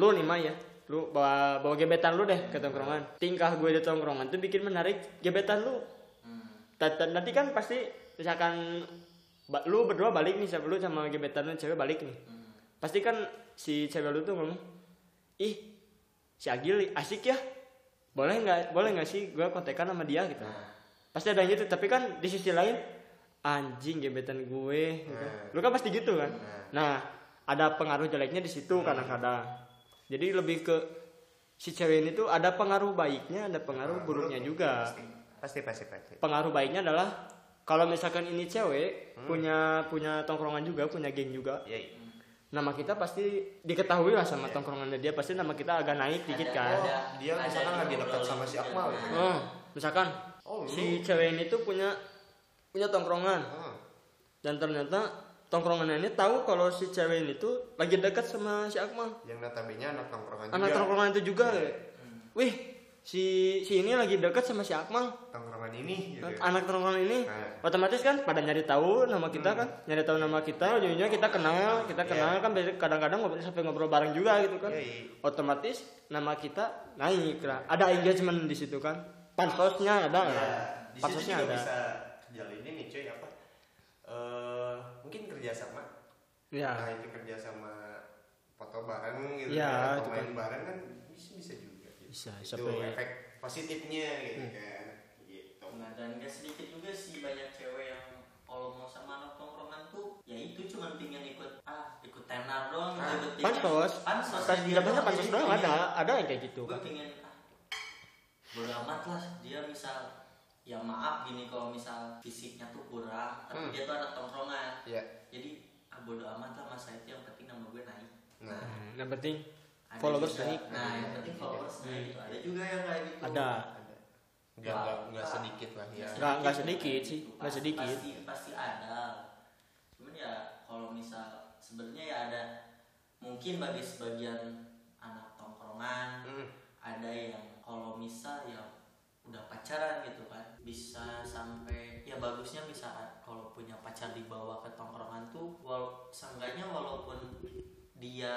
[SPEAKER 1] lu nih Mai ya lu bawa bawa gebetan lu deh ke tongkrongan tingkah gue di tongkrongan tuh bikin menarik gebetan lu
[SPEAKER 3] Hmm.
[SPEAKER 1] Ta- ta- nanti kan pasti misalkan ba- lu berdua balik nih siapa lu sama gebetan lu cewek balik nih
[SPEAKER 3] Hmm.
[SPEAKER 1] pasti kan si cewek lu tuh ngomong ih si Agil asik ya boleh nggak boleh nggak sih gue kontekan sama dia gitu pasti ada yang gitu tapi kan di sisi lain anjing gebetan gue gitu.
[SPEAKER 2] Hmm.
[SPEAKER 1] lu kan pasti gitu kan nah ada pengaruh jeleknya di situ kadang-kadang jadi lebih ke si cewek ini tuh ada pengaruh baiknya ada pengaruh buruknya juga
[SPEAKER 2] Nah, pasti Iya. pasti pasti, pasti.
[SPEAKER 1] pengaruh baiknya adalah kalau misalkan ini cewek
[SPEAKER 2] Hmm.
[SPEAKER 1] punya punya tongkrongan juga punya geng juga
[SPEAKER 2] Iya, iya.
[SPEAKER 1] nama kita pasti diketahui lah sama tongkrongannya dia pasti nama kita agak naik dikit
[SPEAKER 3] Ada-
[SPEAKER 1] kan
[SPEAKER 3] ada-
[SPEAKER 2] dia
[SPEAKER 3] ada gitu kan.
[SPEAKER 2] misalkan
[SPEAKER 3] di
[SPEAKER 2] lagi dekat
[SPEAKER 3] ngobrolin
[SPEAKER 2] sama si
[SPEAKER 3] juga.
[SPEAKER 2] Akmal ya.
[SPEAKER 1] Oh, misalkan
[SPEAKER 2] Oh, lu.
[SPEAKER 1] si cewek ini tuh punya punya tongkrongan
[SPEAKER 2] Hmm.
[SPEAKER 1] dan ternyata tongkrongan ini tahu kalau si cewek ini tuh lagi dekat sama si Akmal
[SPEAKER 2] yang notabene anak tongkrongan
[SPEAKER 1] anak
[SPEAKER 2] juga Iya.
[SPEAKER 1] tongkrongan itu juga
[SPEAKER 3] Hmm.
[SPEAKER 1] wih si si ini lagi dekat sama si Akmal
[SPEAKER 2] tongkrongan ini gitu
[SPEAKER 1] Kan anak tongkrongan ini
[SPEAKER 2] Nah.
[SPEAKER 1] otomatis kan pada nyari tahu nama kita
[SPEAKER 2] Hmm.
[SPEAKER 1] kan nyari tahu nama kita ujung-ujungnya kita kenal kita kenal kan biasanya kadang-kadang ngobrol sampai ngobrol bareng juga gitu kan
[SPEAKER 2] Iya, iya.
[SPEAKER 1] otomatis nama kita naik lah ada engagement di situ kan pansosnya ada
[SPEAKER 2] Ya,
[SPEAKER 1] lah
[SPEAKER 2] di situ
[SPEAKER 1] pansosnya
[SPEAKER 2] juga
[SPEAKER 1] ada
[SPEAKER 2] bisa jalin ini cuy apa Eh, mungkin kerjasama
[SPEAKER 1] ya
[SPEAKER 2] nah itu kerjasama foto bareng gitu
[SPEAKER 1] Iya,
[SPEAKER 2] kan,
[SPEAKER 1] itu
[SPEAKER 2] atau main
[SPEAKER 1] kan.
[SPEAKER 2] bareng kan bisa bisa juga gitu.
[SPEAKER 1] Bisa, iya. Hmm.
[SPEAKER 2] itu
[SPEAKER 1] sampai-
[SPEAKER 2] efek positifnya gitu kan gitu
[SPEAKER 3] Nah, dan gak sedikit juga sih banyak cewek yang kalau mau sama anak tongkrongan tuh ya itu cuma pingin ikut ah ikut tenar doang
[SPEAKER 2] Ah,
[SPEAKER 3] ikut pingin-
[SPEAKER 1] pansos
[SPEAKER 3] pansos ya,
[SPEAKER 1] Pas-
[SPEAKER 3] dia
[SPEAKER 1] zamannya
[SPEAKER 3] doang,
[SPEAKER 1] pansos
[SPEAKER 3] jadi
[SPEAKER 1] doang
[SPEAKER 3] pingin-
[SPEAKER 1] ada ada yang kayak gitu
[SPEAKER 3] gue
[SPEAKER 1] kan
[SPEAKER 3] pengen ah, bodo amat lah dia misal ya maaf gini kalau misal fisiknya tuh kurang tapi
[SPEAKER 2] Hmm.
[SPEAKER 3] dia tuh anak tongkrongan
[SPEAKER 2] ya
[SPEAKER 3] jadi ah, bodo amat lah masa itu yang penting nama gue naik
[SPEAKER 2] nah
[SPEAKER 1] Nah, yang penting
[SPEAKER 3] Ada
[SPEAKER 1] Followers
[SPEAKER 3] juga-
[SPEAKER 1] naik.
[SPEAKER 3] nah yang penting followers naik gitu ada juga yang kayak gitu
[SPEAKER 1] ada
[SPEAKER 2] nggak nggak nggak sedikit lah ya
[SPEAKER 1] Nggak- nggak sedikit sih, nggak
[SPEAKER 3] Pas-
[SPEAKER 1] sedikit.
[SPEAKER 3] gitu. pasti pasti ada cuman ya kalau misal sebenarnya ya ada mungkin bagi sebagian anak tongkrongan
[SPEAKER 2] Hmm.
[SPEAKER 3] ada yang kalau misal ya udah pacaran gitu kan bisa sampai ya bagusnya bisa kalau punya pacar dibawa ke tongkrongan tuh wal seenggaknya walaupun dia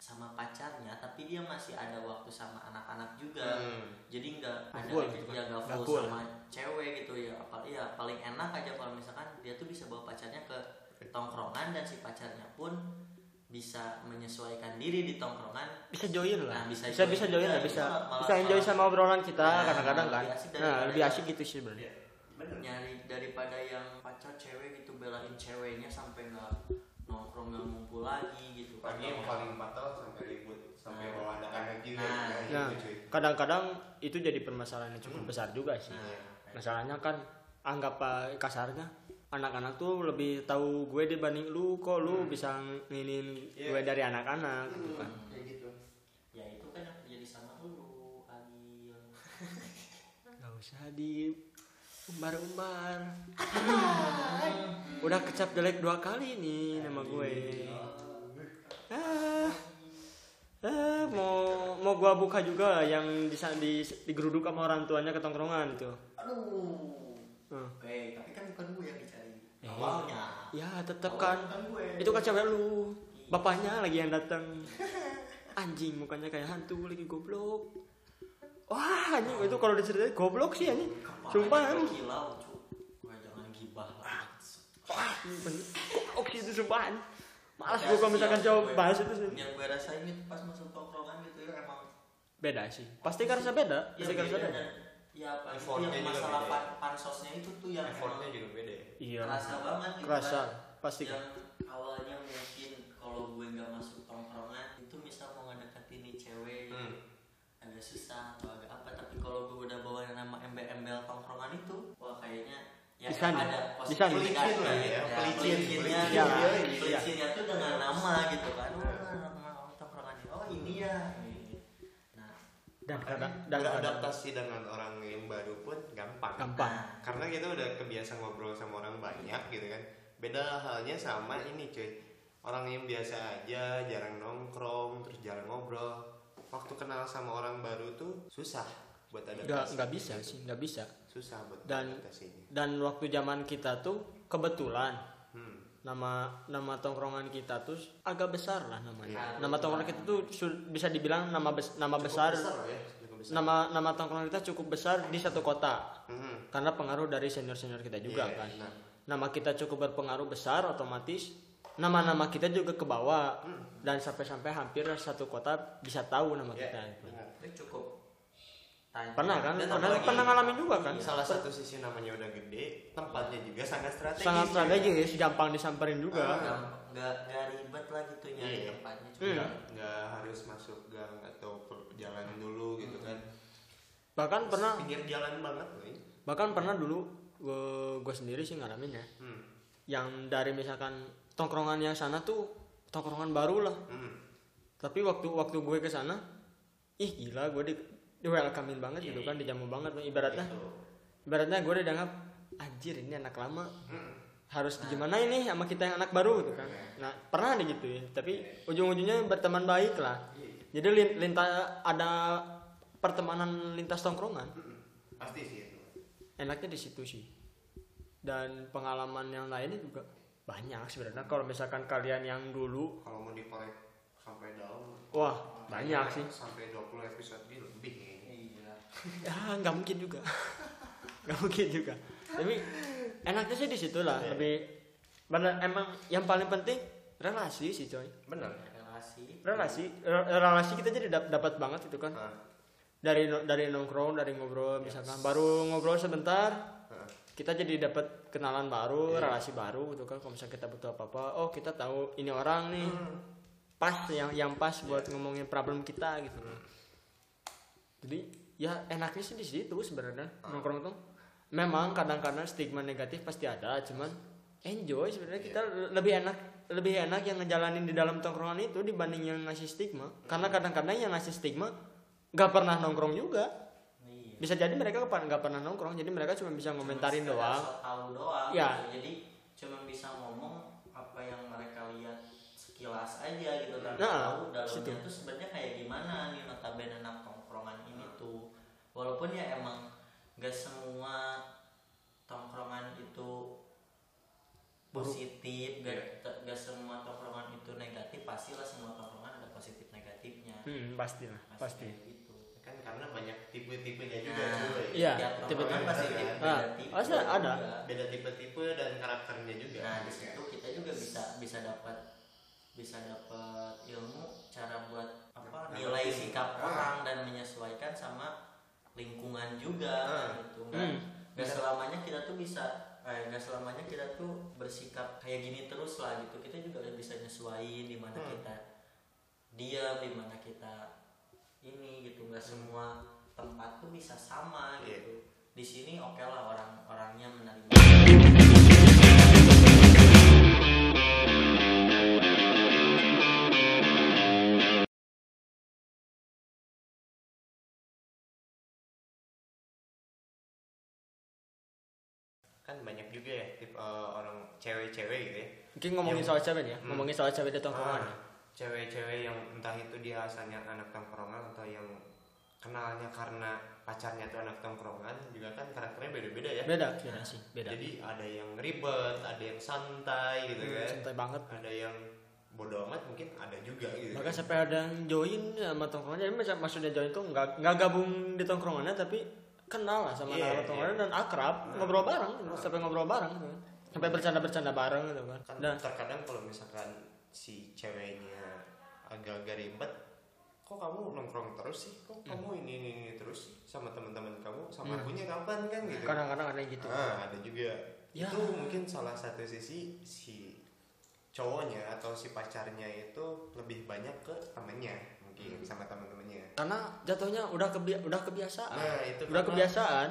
[SPEAKER 3] sama pacarnya tapi dia masih ada waktu sama anak-anak juga
[SPEAKER 2] Hmm.
[SPEAKER 3] jadi nggak ada
[SPEAKER 1] Full
[SPEAKER 3] aja
[SPEAKER 1] gitu kan.
[SPEAKER 3] dia nggak
[SPEAKER 1] Nggak
[SPEAKER 3] full
[SPEAKER 1] full.
[SPEAKER 3] sama cewek gitu ya apa ya paling enak aja kalau misalkan dia tuh bisa bawa pacarnya ke tongkrongan dan si pacarnya pun bisa menyesuaikan diri di tongkrongan
[SPEAKER 1] bisa join lah
[SPEAKER 3] Nah, bisa
[SPEAKER 1] bisa
[SPEAKER 3] join
[SPEAKER 1] bisa join
[SPEAKER 2] iya,
[SPEAKER 3] juga,
[SPEAKER 1] lah bisa
[SPEAKER 3] itu malah-
[SPEAKER 1] bisa enjoy sama obrolan kita
[SPEAKER 3] Nah,
[SPEAKER 1] kadang-kadang kan
[SPEAKER 3] lebih asik daripada-
[SPEAKER 1] nah lebih asik gitu sih
[SPEAKER 2] Iya.
[SPEAKER 1] sebenarnya
[SPEAKER 2] bener
[SPEAKER 3] nyari daripada yang pacar cewek gitu belain ceweknya sampai nggak nongkrong nggak ngumpul lagi gitu
[SPEAKER 2] pagi yang paling fatal sampai ribut sampai
[SPEAKER 3] Nah.
[SPEAKER 2] bawa anak-anak juga
[SPEAKER 3] Nah.
[SPEAKER 2] nah,
[SPEAKER 1] Nah,
[SPEAKER 2] itu cuy
[SPEAKER 1] kadang-kadang itu jadi permasalahan yang cukup besar juga sih.
[SPEAKER 3] Nah,
[SPEAKER 1] Masalahnya kan anggap eh, kasarnya anak-anak tuh lebih tahu gue dibanding lu kok lu bisa nginin
[SPEAKER 2] Iya.
[SPEAKER 1] gue dari anak-anak gitu kan.
[SPEAKER 2] Hmm, kayak gitu
[SPEAKER 3] ya itu kan yang terjadi sama lu Agil
[SPEAKER 1] Gak usah di umbar-umbar. Udah kecap jelek dua kali nih nama gue.
[SPEAKER 3] Oh.
[SPEAKER 1] Ah. Ah, mau mau gua buka juga yang di di digeruduk sama orang tuanya ke tongkrongan tuh.
[SPEAKER 3] aduh
[SPEAKER 1] Hmm.
[SPEAKER 3] eh tapi kan bukan gue yang dicari
[SPEAKER 1] Eh.
[SPEAKER 3] awalnya
[SPEAKER 1] Ya, tetap kan.
[SPEAKER 3] Awalnya bukan gue.
[SPEAKER 1] Itu kan cewek lu. Bapaknya lagi yang datang. Anjing mukanya kayak hantu lagi goblok. Wah, anjing itu kalau diceritain goblok sih anjing. Sumpah anjing.
[SPEAKER 3] kilau cu gue jangan gibah lah
[SPEAKER 1] Wah, ini bener. goblok sih itu sumpah anjing. Malas gua kalau misalkan coba bahas itu sih.
[SPEAKER 3] yang gue rasain itu pas masuk tongkrongan gitu ya emang
[SPEAKER 1] Beda sih. Pasti karena beda. Pasti karena
[SPEAKER 3] beda
[SPEAKER 1] beda.
[SPEAKER 3] dan- ya apa itu
[SPEAKER 2] Effortnya
[SPEAKER 3] yang
[SPEAKER 2] juga
[SPEAKER 3] masalah
[SPEAKER 2] beda.
[SPEAKER 3] pan pansosnya itu tuh yang
[SPEAKER 2] effortnya
[SPEAKER 3] emang
[SPEAKER 2] juga beda ya
[SPEAKER 1] Iya.
[SPEAKER 3] kerasa banget gitu
[SPEAKER 1] Kerasa.
[SPEAKER 3] kan.
[SPEAKER 1] Pasti kan.
[SPEAKER 3] yang awalnya mungkin kalau gue nggak masuk tongkrongan itu misal mau ngedeketin nih cewek
[SPEAKER 2] Hmm.
[SPEAKER 3] agak susah atau agak apa tapi kalau gue udah bawa nama embel-embel tongkrongan itu wah kayaknya ya
[SPEAKER 1] Bisa nih.
[SPEAKER 3] ada
[SPEAKER 1] Bisa nih.
[SPEAKER 3] positif Iya,
[SPEAKER 2] Pelicin lah ya, pelicin,
[SPEAKER 3] pelicinnya
[SPEAKER 2] pelicin.
[SPEAKER 3] ya,
[SPEAKER 1] Iya,
[SPEAKER 2] iya.
[SPEAKER 3] pelicinnya tuh dengan nama gitu kan oh, nama tongkrongan ini oh ini ya ini. nah
[SPEAKER 1] Dan kadang dan kadang
[SPEAKER 2] beradaptasi dengan orang yang baru pun gampang
[SPEAKER 1] gampang.
[SPEAKER 3] nah,
[SPEAKER 2] karena kita udah kebiasa ngobrol sama orang banyak gitu kan beda halnya sama ini cuy orang yang biasa aja jarang nongkrong terus jarang ngobrol waktu kenal sama orang baru tuh susah buat
[SPEAKER 1] nggak
[SPEAKER 2] adaptasi
[SPEAKER 1] nggak bisa sih nggak bisa
[SPEAKER 2] susah buat
[SPEAKER 1] Dan-
[SPEAKER 2] adaptasinya
[SPEAKER 1] dan waktu zaman kita tuh kebetulan
[SPEAKER 2] hmm.
[SPEAKER 1] nama nama tongkrongan kita tuh agak besar lah namanya
[SPEAKER 3] Iya.
[SPEAKER 1] nama tongkrongan kita tuh su- bisa dibilang nama bes- nama
[SPEAKER 2] Cukup
[SPEAKER 1] besar,
[SPEAKER 2] lah ya cukup besar.
[SPEAKER 1] nama nama tongkrongan kita cukup besar di satu kota
[SPEAKER 2] Hmm.
[SPEAKER 1] karena pengaruh dari senior senior kita juga
[SPEAKER 2] Iya,
[SPEAKER 1] kan
[SPEAKER 2] benar.
[SPEAKER 1] nama kita cukup berpengaruh besar otomatis nama-nama kita juga ke bawah dan sampai-sampai hampir satu kota bisa tahu nama
[SPEAKER 2] Iya,
[SPEAKER 1] kita
[SPEAKER 2] benar.
[SPEAKER 3] itu cukup tanya.
[SPEAKER 1] pernah kan
[SPEAKER 3] Nah, Dan
[SPEAKER 1] pernah
[SPEAKER 3] apalagi-
[SPEAKER 1] pernah ngalamin juga kan
[SPEAKER 2] salah satu sisi namanya udah gede tempatnya juga sangat strategis
[SPEAKER 1] sangat
[SPEAKER 2] juga.
[SPEAKER 1] strategis gampang disamperin juga
[SPEAKER 2] Iya. Ah.
[SPEAKER 3] nggak nggak nggak ribet lah gitu nyari
[SPEAKER 2] Iya.
[SPEAKER 3] tempatnya
[SPEAKER 1] Hmm.
[SPEAKER 3] cuma
[SPEAKER 2] nggak nggak harus masuk gang atau per- jalan dulu gitu kan
[SPEAKER 1] bahkan pernah
[SPEAKER 2] pinggir jalan banget nih
[SPEAKER 1] bahkan pernah dulu gue sendiri sih ngalamin ya
[SPEAKER 2] hmm.
[SPEAKER 1] yang dari misalkan tongkrongan yang sana tuh tongkrongan baru lah
[SPEAKER 2] Hmm.
[SPEAKER 1] tapi waktu waktu gue ke sana ih gila gue di, di welcomein banget gitu kan dijamu banget ibaratnya
[SPEAKER 2] Gitu.
[SPEAKER 1] ibaratnya gue udah dianggap anjir ini anak lama
[SPEAKER 2] Hmm.
[SPEAKER 1] harus gimana ini sama kita yang anak baru gitu kan nah pernah ada gitu ya tapi ujung-ujungnya berteman baik lah jadi lin- lintas ada pertemanan lintas tongkrongan
[SPEAKER 2] Hmm. pasti sih itu
[SPEAKER 1] enaknya di situ sih dan pengalaman yang lainnya juga banyak sebenarnya kalau misalkan kalian yang dulu
[SPEAKER 2] kalau mau dikorek sampai dalam
[SPEAKER 1] wah banyak sih
[SPEAKER 2] sampai 20 episode ini lebih kayaknya.
[SPEAKER 3] iya
[SPEAKER 1] ya nggak mungkin juga nggak mungkin juga tapi enaknya sih di situ lah lebih bener emang yang paling penting relasi sih coy
[SPEAKER 2] benar
[SPEAKER 3] relasi
[SPEAKER 1] relasi re- relasi kita jadi dap- dapat banget itu kan
[SPEAKER 2] Hah?
[SPEAKER 1] dari no- dari nongkrong dari ngobrol misalkan baru ngobrol sebentar
[SPEAKER 2] Hah?
[SPEAKER 1] kita jadi dapat kenalan baru
[SPEAKER 2] Iya.
[SPEAKER 1] relasi baru gitu kan kalau misalnya kita butuh apa apa oh kita tahu ini orang nih pas yang yang pas buat ngomongin problem kita gitu jadi ya enaknya sih di situ sebenarnya nongkrong tuh memang kadang-kadang stigma negatif pasti ada cuman enjoy sebenarnya kita lebih enak lebih enak yang ngejalanin di dalam tongkrongan itu dibanding yang ngasih stigma karena kadang-kadang yang ngasih stigma nggak pernah nongkrong juga
[SPEAKER 3] iya
[SPEAKER 1] bisa jadi mereka kepa- nggak pernah nongkrong jadi mereka cuma bisa ngomentarin
[SPEAKER 3] Sekedar
[SPEAKER 1] doang
[SPEAKER 3] so tahu doang
[SPEAKER 1] Iya.
[SPEAKER 3] gitu. jadi cuma bisa ngomong apa yang mereka lihat sekilas aja gitu kan
[SPEAKER 1] Nah,
[SPEAKER 3] tahu
[SPEAKER 1] situ.
[SPEAKER 3] dalamnya tuh sebenarnya kayak gimana nih notabene enam tongkrongan ini
[SPEAKER 1] Nah.
[SPEAKER 3] tuh walaupun ya emang gak semua tongkrongan itu
[SPEAKER 1] Buruk. Iya.
[SPEAKER 3] positif gak, gak semua tongkrongan itu negatif pastilah semua tongkrongan ada positif negatifnya
[SPEAKER 1] hmm, pasti lah pasti
[SPEAKER 3] kayak gitu
[SPEAKER 2] kan karena banyak tipe-tipenya juga ya.
[SPEAKER 3] Nah,
[SPEAKER 2] cuy.
[SPEAKER 1] Iya,
[SPEAKER 3] tiap
[SPEAKER 1] tipe-tipe.
[SPEAKER 3] tongkrongan pasti
[SPEAKER 2] Nah,
[SPEAKER 3] beda-tipe
[SPEAKER 1] pasti ada.
[SPEAKER 3] juga.
[SPEAKER 2] beda tipe-tipe dan karakternya juga
[SPEAKER 3] Nah, di
[SPEAKER 2] harusnya.
[SPEAKER 3] situ kita juga bisa bisa dapat bisa dapat ilmu cara buat apa
[SPEAKER 2] Nah,
[SPEAKER 3] nilai
[SPEAKER 2] iya.
[SPEAKER 3] sikap
[SPEAKER 2] Ah.
[SPEAKER 3] orang dan menyesuaikan sama lingkungan juga
[SPEAKER 2] Ah.
[SPEAKER 3] gitu. Nggak,
[SPEAKER 1] Hmm.
[SPEAKER 3] nggak selamanya kita tuh bisa eh nggak selamanya kita tuh bersikap kayak gini terus lah gitu. Kita juga bisa nyesuaiin di mana
[SPEAKER 2] Hmm.
[SPEAKER 3] kita diam, di mana kita ini gitu. Nggak semua tempat tuh bisa sama
[SPEAKER 2] Hmm. Iya.
[SPEAKER 3] gitu. Di sini oke lah orang-orangnya menerima
[SPEAKER 2] kan banyak juga ya tipe eh, orang cewek-cewek gitu ya
[SPEAKER 1] mungkin ngomongin
[SPEAKER 2] Yang-
[SPEAKER 1] soal cewek nih ya
[SPEAKER 2] Hmm.
[SPEAKER 1] ngomongin soal cewek di tongkrongan
[SPEAKER 2] Ah, cewek-cewek yang entah itu dia asalnya anak tongkrongan atau yang kenalnya karena pacarnya tuh anak tongkrongan juga kan karakternya beda-beda ya
[SPEAKER 1] beda beda sih beda
[SPEAKER 2] jadi ada yang ribet ada yang santai Iya, gitu
[SPEAKER 1] Hmm,
[SPEAKER 2] kan
[SPEAKER 1] santai banget
[SPEAKER 2] ada yang bodoh amat mungkin ada juga gitu
[SPEAKER 1] maka sampai ada yang join sama tongkrongannya Ini macam maksudnya join tuh nggak nggak gabung di tongkrongannya tapi kenal lah sama
[SPEAKER 2] Iya, Ah.
[SPEAKER 1] anak tongkrongannya dan akrab ngobrol bareng sampai ngobrol bareng gitu kan. sampai bercanda bercanda bareng gitu kan
[SPEAKER 2] kan
[SPEAKER 1] dan
[SPEAKER 2] terkadang kalau misalkan si ceweknya agak-agak ribet kok kamu nongkrong terus sih
[SPEAKER 1] Hmm.
[SPEAKER 2] kok kamu ini ini, ini terus sih sama teman-teman kamu sama akunya kapan kan gitu
[SPEAKER 1] kadang-kadang ada yang gitu
[SPEAKER 2] Ah, ada juga
[SPEAKER 1] Ya.
[SPEAKER 2] itu mungkin salah satu sisi si cowoknya atau si pacarnya itu lebih banyak ke temennya
[SPEAKER 1] Hmm.
[SPEAKER 2] mungkin sama teman-temannya
[SPEAKER 1] karena jatuhnya udah kebi- udah kebiasaan
[SPEAKER 2] nah
[SPEAKER 1] Ah. udah
[SPEAKER 2] itu karena
[SPEAKER 1] kebiasaan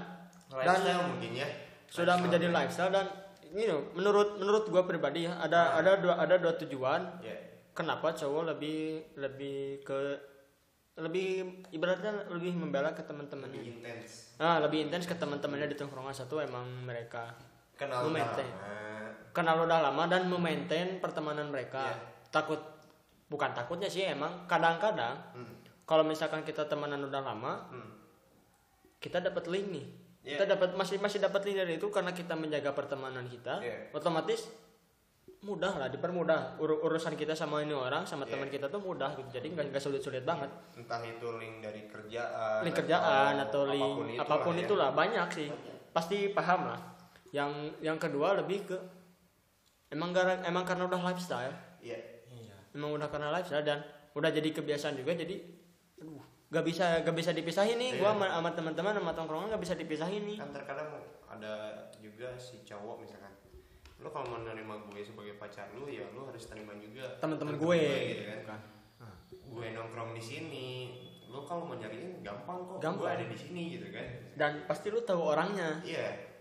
[SPEAKER 2] lifestyle mungkin ya
[SPEAKER 1] sudah
[SPEAKER 2] Lifestyle.
[SPEAKER 1] menjadi lifestyle dan you know, menurut menurut gua pribadi ya ada
[SPEAKER 2] Ah.
[SPEAKER 1] ada dua ada dua tujuan
[SPEAKER 2] ya
[SPEAKER 1] kenapa cowok lebih lebih ke lebih ibaratnya lebih membela ke teman-temannya
[SPEAKER 2] lebih intens
[SPEAKER 1] Ah, lebih intens ke teman-temannya di tongkrongan satu emang mereka
[SPEAKER 2] kenal
[SPEAKER 1] Memaintain.
[SPEAKER 2] lama.
[SPEAKER 1] kenal udah lama dan memaintain pertemanan mereka.
[SPEAKER 2] Iya.
[SPEAKER 1] Takut bukan takutnya sih emang kadang-kadang
[SPEAKER 2] Hmm.
[SPEAKER 1] kalau misalkan kita temanan udah lama
[SPEAKER 2] Hmm.
[SPEAKER 1] kita dapat link nih
[SPEAKER 2] Iya.
[SPEAKER 1] kita dapat masih masih dapat link dari itu karena kita menjaga pertemanan kita
[SPEAKER 2] Iya.
[SPEAKER 1] otomatis mudah lah dipermudah Ur- urusan kita sama ini orang sama
[SPEAKER 2] Iya.
[SPEAKER 1] teman kita tuh mudah gitu jadi nggak nggak sulit sulit banget
[SPEAKER 2] entah itu link dari kerjaan
[SPEAKER 1] link kerjaan atau link apapun, itulah
[SPEAKER 2] itulah ya.
[SPEAKER 1] banyak sih pasti paham lah yang yang kedua lebih ke emang gara emang karena udah lifestyle
[SPEAKER 2] Iya.
[SPEAKER 3] Iya.
[SPEAKER 1] emang udah karena lifestyle dan udah jadi kebiasaan juga jadi aduh gak bisa gak bisa dipisahin nih gua
[SPEAKER 2] Iya.
[SPEAKER 1] sama, sama teman-teman sama tongkrongan gak bisa dipisahin nih
[SPEAKER 2] kan terkadang ada juga si cowok misalkan lu kalau mau nerima gue sebagai pacar lu ya lu harus terima juga
[SPEAKER 1] teman-teman gue
[SPEAKER 2] gitu kan
[SPEAKER 1] Bukan.
[SPEAKER 2] gue nongkrong di sini lu kalau mau nyariin gampang kok gue
[SPEAKER 1] Gampang.
[SPEAKER 2] ada di sini gitu kan
[SPEAKER 1] dan pasti lu tahu orangnya
[SPEAKER 2] iya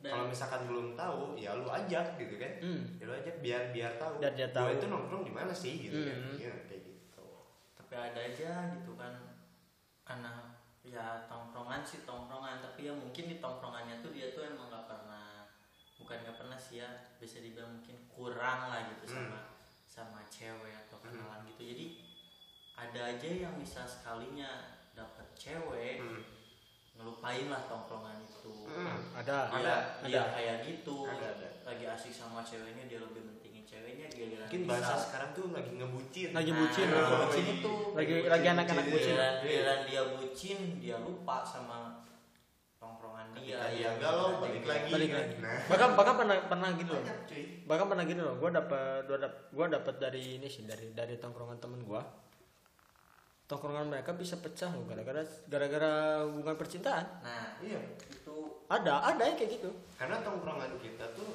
[SPEAKER 3] Dan
[SPEAKER 2] kalau misalkan belum tahu ya lu ajak gitu kan
[SPEAKER 1] Hmm.
[SPEAKER 2] ya lu ajak biar biar tahu
[SPEAKER 1] Biar dia
[SPEAKER 2] gue
[SPEAKER 1] tahu.
[SPEAKER 2] itu nongkrong di mana sih gitu kan
[SPEAKER 1] Hmm.
[SPEAKER 2] Iya, kayak gitu
[SPEAKER 3] tapi ada aja gitu kan karena ya tongkrongan sih tongkrongan tapi ya mungkin di tongkrongannya tuh dia tuh emang nggak pernah bukan nggak pernah sih ya bisa dibilang mungkin kurang lah
[SPEAKER 2] Hmm.
[SPEAKER 3] gitu sama sama cewek atau
[SPEAKER 2] Hmm.
[SPEAKER 3] kenalan gitu jadi ada aja yang bisa sekalinya dapet cewek
[SPEAKER 2] Hmm.
[SPEAKER 3] ngelupain lah tongkrongan itu
[SPEAKER 2] Hmm.
[SPEAKER 1] ada
[SPEAKER 3] Dia,
[SPEAKER 1] Ada.
[SPEAKER 3] dia kayak gitu
[SPEAKER 2] Ada, ada.
[SPEAKER 3] lagi asik sama ceweknya dia lebih mentingin ceweknya dia
[SPEAKER 2] mungkin bahasa sekarang tuh lagi ngebucin
[SPEAKER 1] Lagi bucin,
[SPEAKER 2] Ah,
[SPEAKER 3] nah,
[SPEAKER 1] lagi
[SPEAKER 3] bucin
[SPEAKER 2] bucin.
[SPEAKER 3] itu
[SPEAKER 1] lagi lagi anak-anak
[SPEAKER 2] Iya.
[SPEAKER 1] bucin
[SPEAKER 3] giliran giliran dia bucin dia lupa sama tongkrongan dia Iya,
[SPEAKER 2] Ketika dia galau iya. balik lagi
[SPEAKER 1] Balik
[SPEAKER 2] kan?
[SPEAKER 1] lagi.
[SPEAKER 2] nah
[SPEAKER 1] bahkan bahkan pernah pernah gitu loh
[SPEAKER 2] banyak cuy
[SPEAKER 1] bahkan pernah gini loh gue dapat gue dapat gue dapat dari ini sih dari dari tongkrongan temen gue tongkrongan mereka bisa pecah loh gara-gara gara-gara hubungan percintaan
[SPEAKER 3] nah
[SPEAKER 2] iya
[SPEAKER 3] itu
[SPEAKER 1] ada ada yang kayak gitu
[SPEAKER 2] karena tongkrongan kita tuh